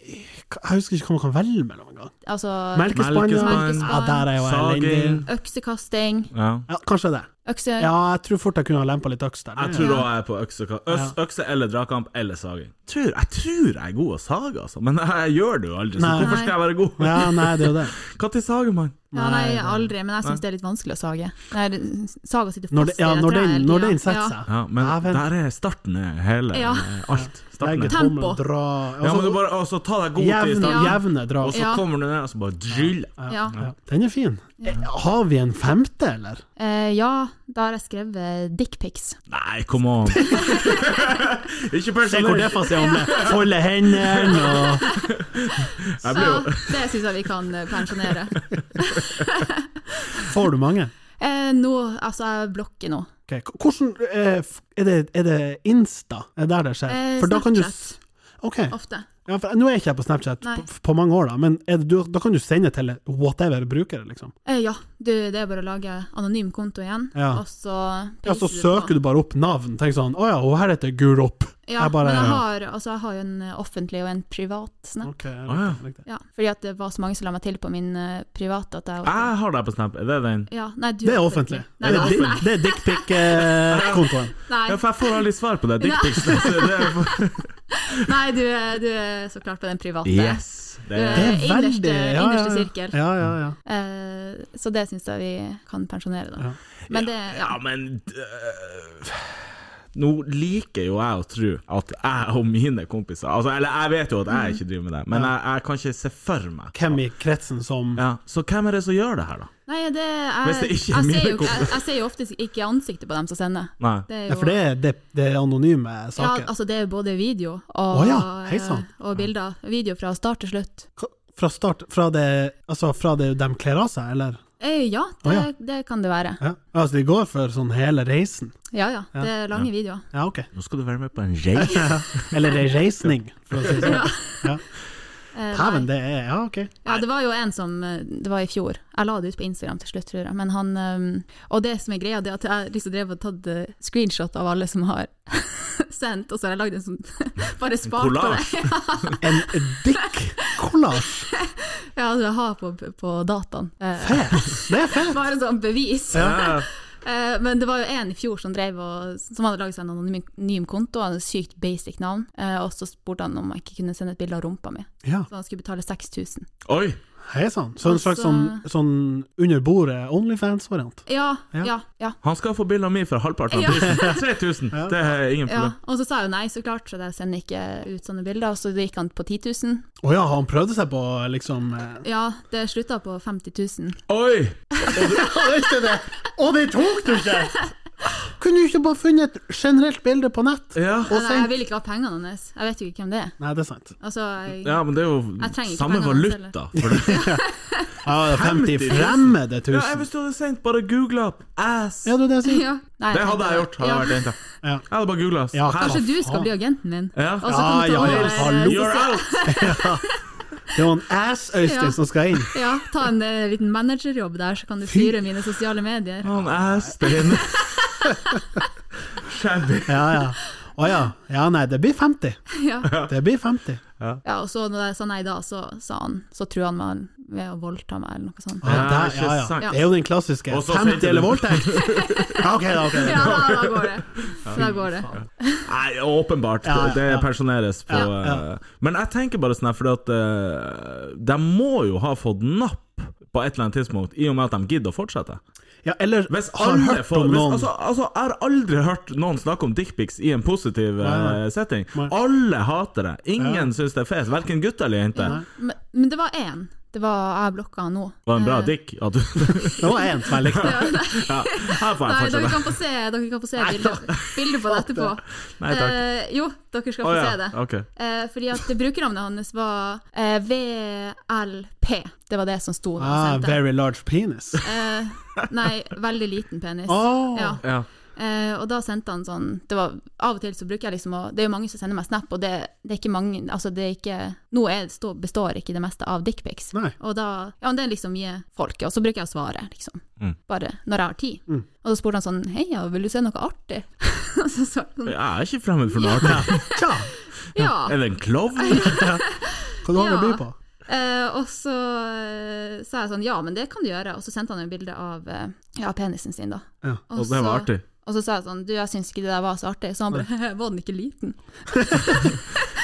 Jeg husker ikke hva man kan velge mellom engang. Altså Melkespann, ja. Melkespann. ja. Der er jo jeg Saging. elendig. øksekasting, Ja. Ja, kanskje det. økse Ja, jeg tror fort jeg kunne ha lempa litt øks der. Jeg Det- tror òg jeg er på øksekamp. Øs, Økse eller dragkamp eller saging. Tror, jeg tror jeg er god å sage, altså, men *laughs* jeg gjør det jo aldri, så Nei. hvorfor skal jeg være god? Ja, nei, det er jo det. Når sager man? Ja, nei, aldri, men jeg syns det er litt vanskelig å sage. Nei, saga sitter fast Når, det, ja, i det når, treet den, hele når tiden. den setter Ja. seg. Ja, men Dæven. der er starten er hele eh, Ja. alt. Starten Legge er. Tempo. tommelen, dra Ja, men du altså, bare og så ta deg god tid i jevne, starten, Ja. jevne drag. og så Ja. kommer du ned og så bare driller. Ja. Ja, den er fin. Eh, Har vi en femte, eller? Eh, ja, da har jeg skrevet dickpics. Nei, *laughs* come on! Ikke Se hvor det personlig. fast er om det. *laughs* Folde hendene og Så det syns jeg vi kan eh, pensjonere. Får du mange? Eh, nå, altså, jeg blokker nå. Ok, k- Hvordan eh, f- er det, er det Insta? Er det der det skjer? Eh, For da kan du s- Snapchat, Ok, ofte. ja, for nå er ikke jeg på Snapchat Nei. på, på mange år, da, men er det, du, da kan du sende til whatever bruker, liksom. Eh, ja, du, det er bare å lage anonym konto igjen, Ja. og så Ja, så søker du bare opp navn. Tenk sånn Å ja, hun her heter Gurop. Ja, Jeg bare- men jeg har, altså, jeg har jo en eh, offentlig og en privat snap. Ok, jeg Ah, likte- likte. Ja, fordi at det var så mange som la meg til på min eh, private at jeg Jeg har deg på Snap, er det den? ja, nei, du Ah! Det er offentlig. det Nei, er, det er di- det er *laughs* dickpic-kontoen. Nei, Ja, for jeg får aldri svar på det. Ja. Dickpics. så det er *laughs* nei du, er- du er så klart på den private. Yes. Du er Det er innerste, innerste sirkel. Ja, ja, ja. Eh, så det syns jeg vi kan pensjonere, da. Ja. Men det ja. Ja, men øh, Nå liker jo jeg å tro at jeg og mine kompiser altså, Eller jeg vet jo at jeg ikke driver med det, men jeg, jeg kan ikke se for meg Hvem i kretsen som ja, Så hvem er det som gjør det her, da? Nei, det Hvis er det ikke er jeg, mine ser jo, kompiser. jeg, jeg ser jo ofte ikke ansiktet på dem som sender. Nei. Det er Ja, jo for det er, det, det er anonyme ja, saker. altså det er jo både video og, eh, Å ja, hei sann. og bilder. Video fra start til slutt. Hva- Fra start Fra det Altså fra det de kler av seg, eller? Eh, ja, det, Å ja. det kan det være. Ja. Altså, de går for sånn hele reisen. Ja ja, det er lange *laughs* videoer. Ja, ok. Nå skal du være med på en race. *laughs* Eller ei reisning, for å si det sånn. Eh, nei. Dæven, det er Ja, ok. Ja, det var jo en som eh, Det var i fjor. Jeg la det ut på Instagram til slutt, tror jeg. Men han ehm, Og det som er greia, det er at jeg liksom drev og tatt eh, screenshot av alle som har *laughs* sendt, og så har jeg lagd en sånn *laughs* Bare spart på det. Collage. En dick-kollasj! Ja, altså, jeg har på, på dataen. Eh, Fett! Det er fett! bare sånn bevis. Ja. Eh, men det var jo en i fjor som drev og Som hadde laget seg en anonym anonym konto, han hadde et sykt basic navn, eh, og så spurte han om jeg ikke kunne sende et bilde av rumpa mi. Ja. Så han skulle betale 6000. Oi! Hei sann. Så en slags Altså- sånn, sånn under bordet Onlyfans-variant. Ja, Ja. ja, ja. Han skal få bilder av meg for halvparten Ja. av prisen. 3000. Det er ingen Ja, problem. og så sa jeg jo nei, så klart, så jeg sender ikke ut sånne bilder. Og så gikk han på 10 000. Å ja, han prøvde seg på liksom eh, Ja, det slutta på 50 000. Oi! *laughs* Ja, visste det! Og det tok du ikke! Kunne du ikke bare funnet et generelt bilde på nett? Ja. Og Nei, jeg sendt vil ikke ha pengene hans. Jeg vet jo ikke hvem det er. Nei, det er sant. Altså, jeg, ja, men det er Jeg trenger jo ikke samme pengene hans valuta. For det. Ja, det er 50 50 000. fremmede Ja, jeg tusen. Hvis du hadde sendt, bare googla ass. Ja, det er det jeg sier. *laughs* ja. Nei, Det hadde jeg gjort. Hadde jeg vært jenta. Ja. Jeg hadde bare googla ass. Ja, Her. Kanskje Hva du skal faen? bli agenten min? Ja. Og så kan Ja, du ta ja, over, ja, hallo. eh, You're out! Det var en ass-Øystein Ja. som skal inn. ja, ta en eh, liten managerjobb der, så kan du styre mine sosiale medier. Han er *laughs* stein. Shabby. Ja, ja. Å ja. Ja, nei, det blir 50. *laughs* Ja. Det blir 50. ja, og så når jeg sa nei da, så sa han Så trua han meg med å voldta meg, eller noe sånt. Ja, Ja, der, ikke ja, ja. sant. Det er jo den klassiske. Og så 50 sendte eller du- *laughs* voldtekt? Ja, ok, da. ok *laughs* Ja, da. da, da går det. Da går det. Nei, åpenbart. Ja, ja, Det ja. pensjoneres på Ja, ja. eh, Men jeg tenker bare sånn her, fordi at eh, de må jo ha fått napp på et eller annet tidspunkt, i og med at de gidder å fortsette. Ja, eller Hvis har alle hørt får om hvis, noen altså, altså, Jeg har aldri hørt noen snakke om dickpics i en positiv Nei, eh, setting. Nei. Alle hater det. Ingen syns det er fes, verken gutt eller jente. Men, men det var én. Det var jeg blokka han nå. Var det en bra dick? At du, *laughs* Det var én som jeg likte. ja, her får jeg Nei, dere fortsette. kan få se, dere kan få se bildet, bildet på det etterpå. Nei takk. Eh, jo, dere skal Å, få ja. se det. Ok. Eh, fordi at brukernavnet hans var eh, VLP. Det var det som sto da han Ah, sendte. very large penis. Eh, nei, veldig liten penis. Åh. Ja. Ja. Eh, og da sendte han sånn det var, Av og til så bruker jeg liksom å Det er jo mange som sender meg snap, og det, det er ikke mange Altså, det er ikke Nå er, stå, består ikke det meste av dickpics. Nei. Og da Ja, men det er liksom mye folk, og så bruker jeg å svare, liksom. Mm. Bare når jeg har tid. Og så spurte han sånn Heia, vil du se noe artig? *laughs* og så svarte han sånn Jeg er ikke fremmed for noe *laughs* artig. Tja, Ja. Er det en klovn? *laughs* hva du har å by Ja. på? Eh, og så eh, sa jeg sånn Ja, men det kan du gjøre. Og så sendte han et bilde av eh, ja, penisen sin, da. Ja. Og det var så- artig. Og så sa jeg sånn Du, jeg syns ikke det der var så artig. Så han bare *laughs* Var den ikke liten?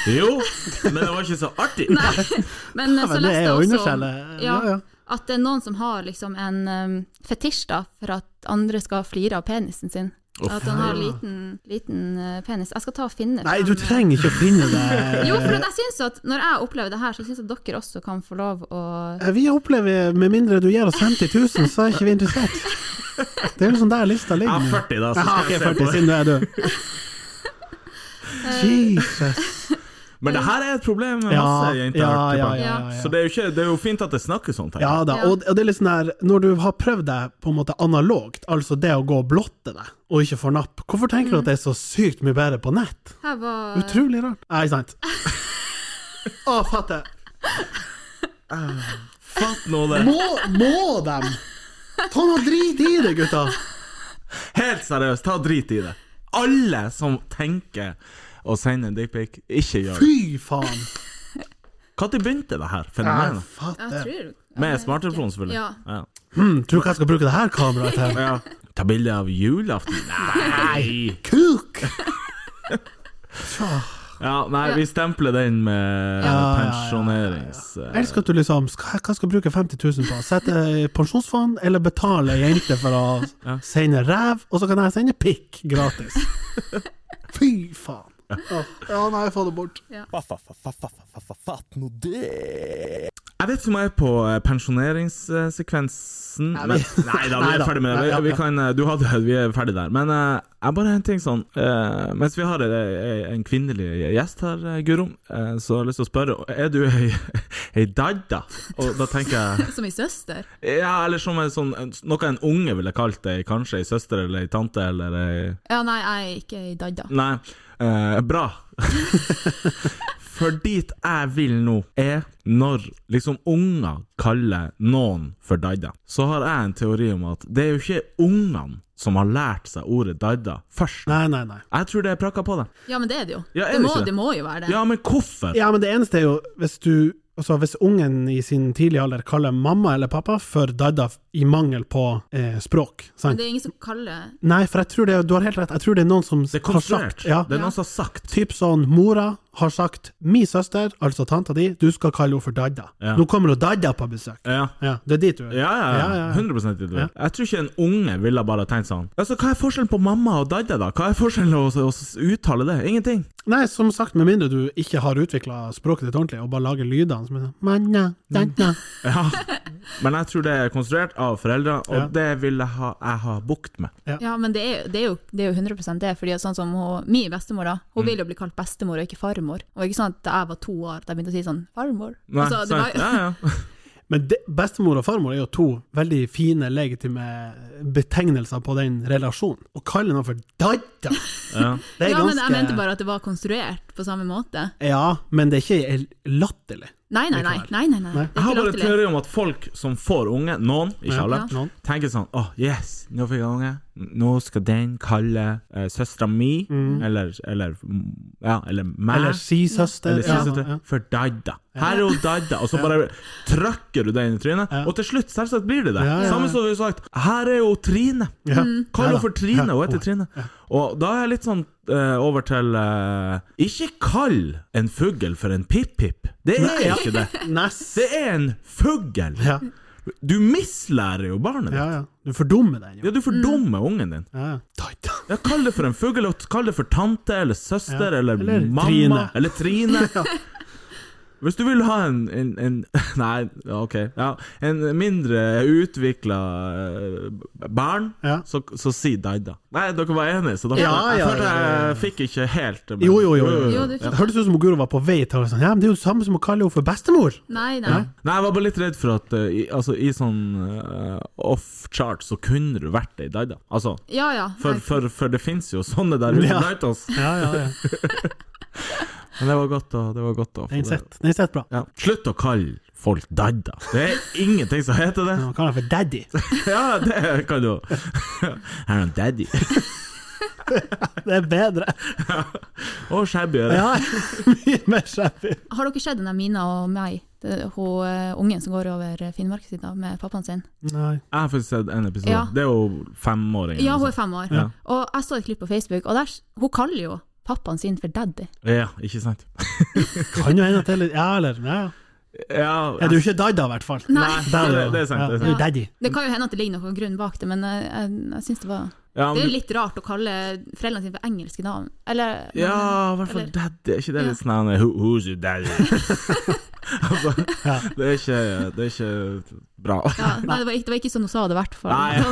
Jo, men det var ikke så artig. Men eh, Ja, så men det leste er jeg jo også om- underskjellet. Ja, ja, ja. at det er noen som har liksom en em, fetisj da, for at andre skal flire av penisen sin. at han har liten, liten eh, penis. Jeg skal ta og finne Nei, fram- du trenger ikke å finne det. Jo, for at jeg synes at når jeg opplever det her, så syns jeg dere også kan få lov å Eh, Vi opplever, med mindre du gir oss 50 000, så er ikke vi interessert. Det er liksom der lista Jeg ligger. har nå. 40, da, så Jaha, skal ok, jeg se 40, på det. siden du *laughs* er død. Eh. Jesus. Men det her er et problem med Ja, masse jenter. ja, har hørt ja, på. ja, ja. Så det er, jo ikke, det er jo fint at det snakkes sånn, om ting. Ja da, Ja. og og det er litt sånn her, når du har prøvd deg på en måte analogt, altså det å gå og blotte deg, og ikke får napp, hvorfor tenker du at det er så sykt mye bedre på nett? Her var Utrolig rart. Nei, sant. *laughs* Å, fatte. Fatt nå det. Må, må dem! Ta nå drit i det, gutta! Helt seriøst, ta drit i det. Alle som tenker å sende en dickpic, ikke gjør det. Fy faen! Når begynte det her Jeg fenomenet? Jeg fatter. tror Med smarttelefon, selvfølgelig. Ja. Ja. Hmm, tror du hva jeg skal bruke det her kameraet til? Ja. Ta bilde av julaften? Nei! Kuk! Ja, nei, vi stempler den med ja, ja. pensjonerings... Jeg elsker at du liksom skal, Hva skal jeg bruke 50 000 på? Sette i pensjonsfond, eller betale ei jente for å *laughs* sende ræv, og så kan jeg sende pikk gratis? Fy faen. Åh, Ja, nei, få det bort. Fatt nå det! Jeg vet som jeg er på eh, pensjoneringssekvensen Nei, *laughs* men- vi- Nei da, vi Nei er da. ferdig med det. Ja, ja, Vi, vi ja. kan, eh, du hadde, vi er ferdig der. Men eh, jeg bare en ting sånn eh, Mens vi har eh, en kvinnelig gjest her, eh, Guro, eh, så har jeg lyst til å spørre Er du ei, *laughs* ei dadda? Og da tenker *laughs* jeg Som min søster. Ja, eller som en sånn, en- noe en unge ville kalt det. Kanskje ei søster eller ei tante eller ei Ja, nei, jeg er ikke i dadda. Nei, eh, *laughs* bra. For dit jeg vil nå, er når liksom unger kaller noen for dadda, så har jeg en teori om at det er jo ikke ungene som har lært seg ordet dadda først. Nei, nei, nei. Jeg tror det er prakka på dem. Ja, men det er det jo. Ja, er det det, må, ikke det? det må jo være det. Ja, men hvorfor? Ja, men det eneste er jo hvis du Altså, hvis ungen i sin tidlige alder kaller mamma eller pappa for dadda i mangel på eh, språk, Men sant? det er ingen som kaller Nei, for jeg tror det, du har helt rett, jeg tror det er noen som Det er har konstruert. sagt ja, Det er noen som har sagt. Typ sånn, mora har sagt Mi søster, altså tanta di, du skal kalle henne for Dadda. Ja. Nå kommer hun Dadda på besøk. Ja. Ja, det er dit du er. Ja, ja, ja. 100 i det. Ja. Jeg tror ikke en unge ville bare tenkt sånn. Altså, Hva er forskjellen på mamma og dadda, da? Hva er forskjellen å, å uttale det? Ingenting. Nei, som sagt, med mindre du ikke har utvikla språket ditt ordentlig, og bare lager lydene som er sånn Manna, dadda. Ja, men jeg tror det er konstruert av foreldre, og Ja. det vil jeg ha, jeg ha bukt med. Ja, men det er, jo- det er, jo, det er jo 100 det. fordi at sånn som hun, Min bestemor da, Mm. hun vil jo bli kalt bestemor og ikke farmor. Og ikke sånn at da jeg var to år, da jeg begynte å si sånn farmor. Nei, altså, det sant? var, *laughs* ja, ja. Men det, bestemor og farmor er jo to veldig fine, legitime betegnelser på den relasjonen. Å kalle noen for Dadda, Ja. det er ja, men ganske jeg mente bare at det var konstruert på samme måte. Ja, men det er ikke latterlig. Nei, nei, nei. nei, nei, nei. Det Jeg er har ikke bare en latterlig. teori om at folk som får unge, noen, ikke alle, Ja. Noen. tenker sånn åh, yes, nå fikk jeg unge, nå skal den kalle eh, søstera mi, eller, eller ja, eller meg, Eller si søster. eller ja, søster, ja. for dadda. Her er jo dadda, og så bare trykker du det inn i trynet, Ja. og til slutt selvsagt blir det det. Ja, ja, ja. Samme som vi har sagt, her er jo Trine. Ja. Kall Ja henne da. for Trine, Ja. hun heter Trine. Og da er jeg litt sånn eh, over til eh, Ikke kall en fugl for en pip-pip. Det er Nei, ja. ikke det. Ness. Det er en fugl. Ja. Du mislærer jo barnet Ja, Mm. ditt. ja. Du fordummer den Ja, jo. du fordummer ungen din. Ja, ja. Tight. Ja, kall det for en fuglelott, kall det for tante eller søster Ja, eller, eller mamma Trine. *laughs* eller Trine. Hvis du vil ha en, en, *laughs* en Nei, ja, OK. Ja, en mindre utvikla eh, barn, Ja. så, så si Daida. Nei, dere var enige, så da Ja, jeg, ja, følte ja, ja. jeg fikk ikke helt men- Jo, jo, jo. jo, Jo, jo. du Det fikk- hørtes ut som Guro var på vei til å sånn, ja, men det er jo det samme som å kalle henne for bestemor. Nei, nei. Nei, jeg var bare litt redd for at eh, i, altså, i sånn eh, off-chart så kunne du vært ei Daida. Altså, Ja, ja. for, nei. for, for det fins jo sånne der ute Ja. blant oss. Ja, ja, ja. Men det var godt å, det var godt å få Den det. sitter den sitter bra. Ja. Slutt å kalle folk dadda. Det er ingenting som heter det. *laughs* Ja, Man kaller den for daddy. Ja, det kan du. Her er en daddy. Det er bedre. Og shabby er det. Ja, *laughs* mye mer shabby. Har dere sett den der Mina og meg? Det- Hun eh, ungen som går over Finnmarksvidda med pappaen sin? Nei. Jeg har faktisk sett en episode. Ja. Det er jo femåringen. Ja, hun er fem år. Ja. Og jeg så et klipp på Facebook, og der, s- hun kaller jo pappaen sin for daddy. liksom. ja, ikke sant? Kan jo hende at det er litt Ja, eller ja. ja. Ja, Er du ikke dadda, i hvert fall? Nei. Der det, jo- det er sant. Ja, Det er du er sant. daddy. Det kan jo hende at det ligger noen grunn bak det, men jeg, jeg, jeg synes det var Ja, Det er men jo du, litt rart å kalle foreldrene sine for engelske navn. Eller ja i hvert fall Eller- daddy. Er ikke det litt sånn her, who, Who's your *laughs* daddy? *laughs* altså, Ja. det er ikke, det er ikke bra. Ja, nei, det, var ikke, det var ikke sånn hun sa det, i hvert fall. Nei,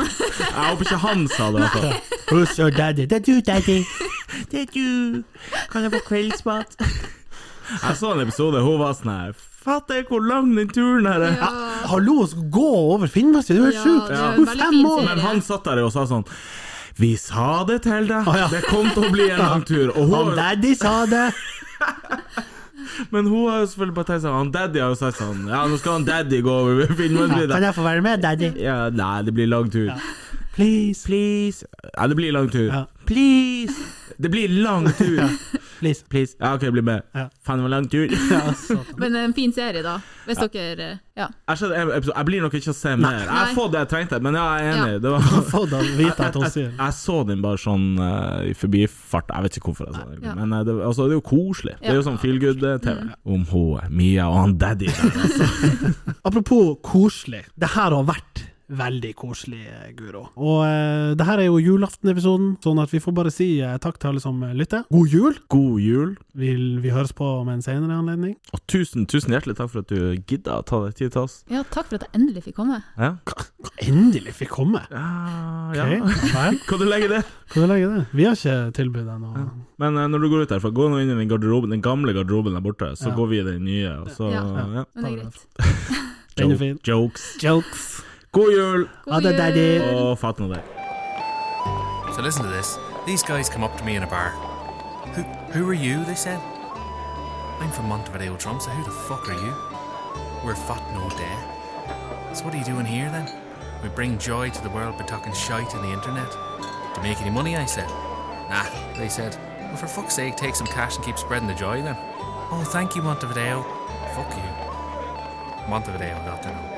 jeg håper ikke han sa det. i hvert fall. Who's your daddy? Det er du, *laughs* daddy. Det er du. Kan jeg få kveldsmat? jeg så en episode, hun var sånn her Fatt jeg hvor lang den turen her er? Ja, Hallo, å skulle gå over Finnmarksvidda, det er jo Ja, helt sjukt! det er Hun er veldig fem fin år! serie. Men han satt der og sa sånn Vi sa det til deg, Å, *laughs* ja. det kom til å bli en lang tur. Og Han hun, daddy sa det! men hun har jo selvfølgelig bare tenkt sånn Han daddy har jo sagt sånn Ja, nå skal han daddy gå over Kan Finnmarksvidda. jeg få være med, daddy? Ja, nei, det blir lang tur. Please, Please. Ja, det blir lang tur. Ja. Please. Det blir lang tur. please. Please. Ja, OK, bli med. Ja. Faen, det var lang tur. Ja, satan. *laughs* Men en fin serie, da. Hvis dere eh, Ja. Jeg, skjønner, jeg, jeg, jeg blir nok ikke å se mer. Jeg har Nei. fått det jeg trengte, men ja, jeg er enig. Ja. Det var, Få da vite at hun jeg, sier jeg så den bare sånn eh, i forbifart. Jeg vet ikke hvorfor jeg så den, egentlig. Ja. men eh, det, altså, det er jo koselig. Det er jo sånn feel good-TV. Om hun Mia og han daddy der, altså. Apropos koselig. Det her har vært veldig koselig, eh, Guro. Og eh, det her er jo julaftenepisoden, sånn at vi får bare si eh, takk til alle som eh, lytter. God jul! God jul, Vil vi høres på om en senere anledning? og tusen, tusen hjertelig takk for at du gidda å ta deg tid til oss. ja, takk for at jeg endelig fikk komme. Ja. Endelig fikk komme! Ja, Ok, ja. vel. Kan du legge det? Hvor legger det? Vi har ikke tilbudt ennå. Men eh, når du går ut derfra, gå nå inn i den, garderoben, den gamle garderoben der borte, så Ja. går vi i den nye. Og så, Ja. ja. Men det er greit. Den er fin. Jo- Jokes. Jokes. God jul, God Ha det, jul. daddy. og fatt nå det. So listen to this. These guys come up to me in a bar. Who, who are you? They said. I'm from Montevideo, Trump, so who the fuck are you? We're fat no dare. So what are you doing here then? We bring joy to the world by talking shite on the internet. To make any money, I said. Nah, they said. Well, for fuck's sake, take some cash and keep spreading the joy then. Oh, thank you, Montevideo. Fuck you. Montevideo, not to know.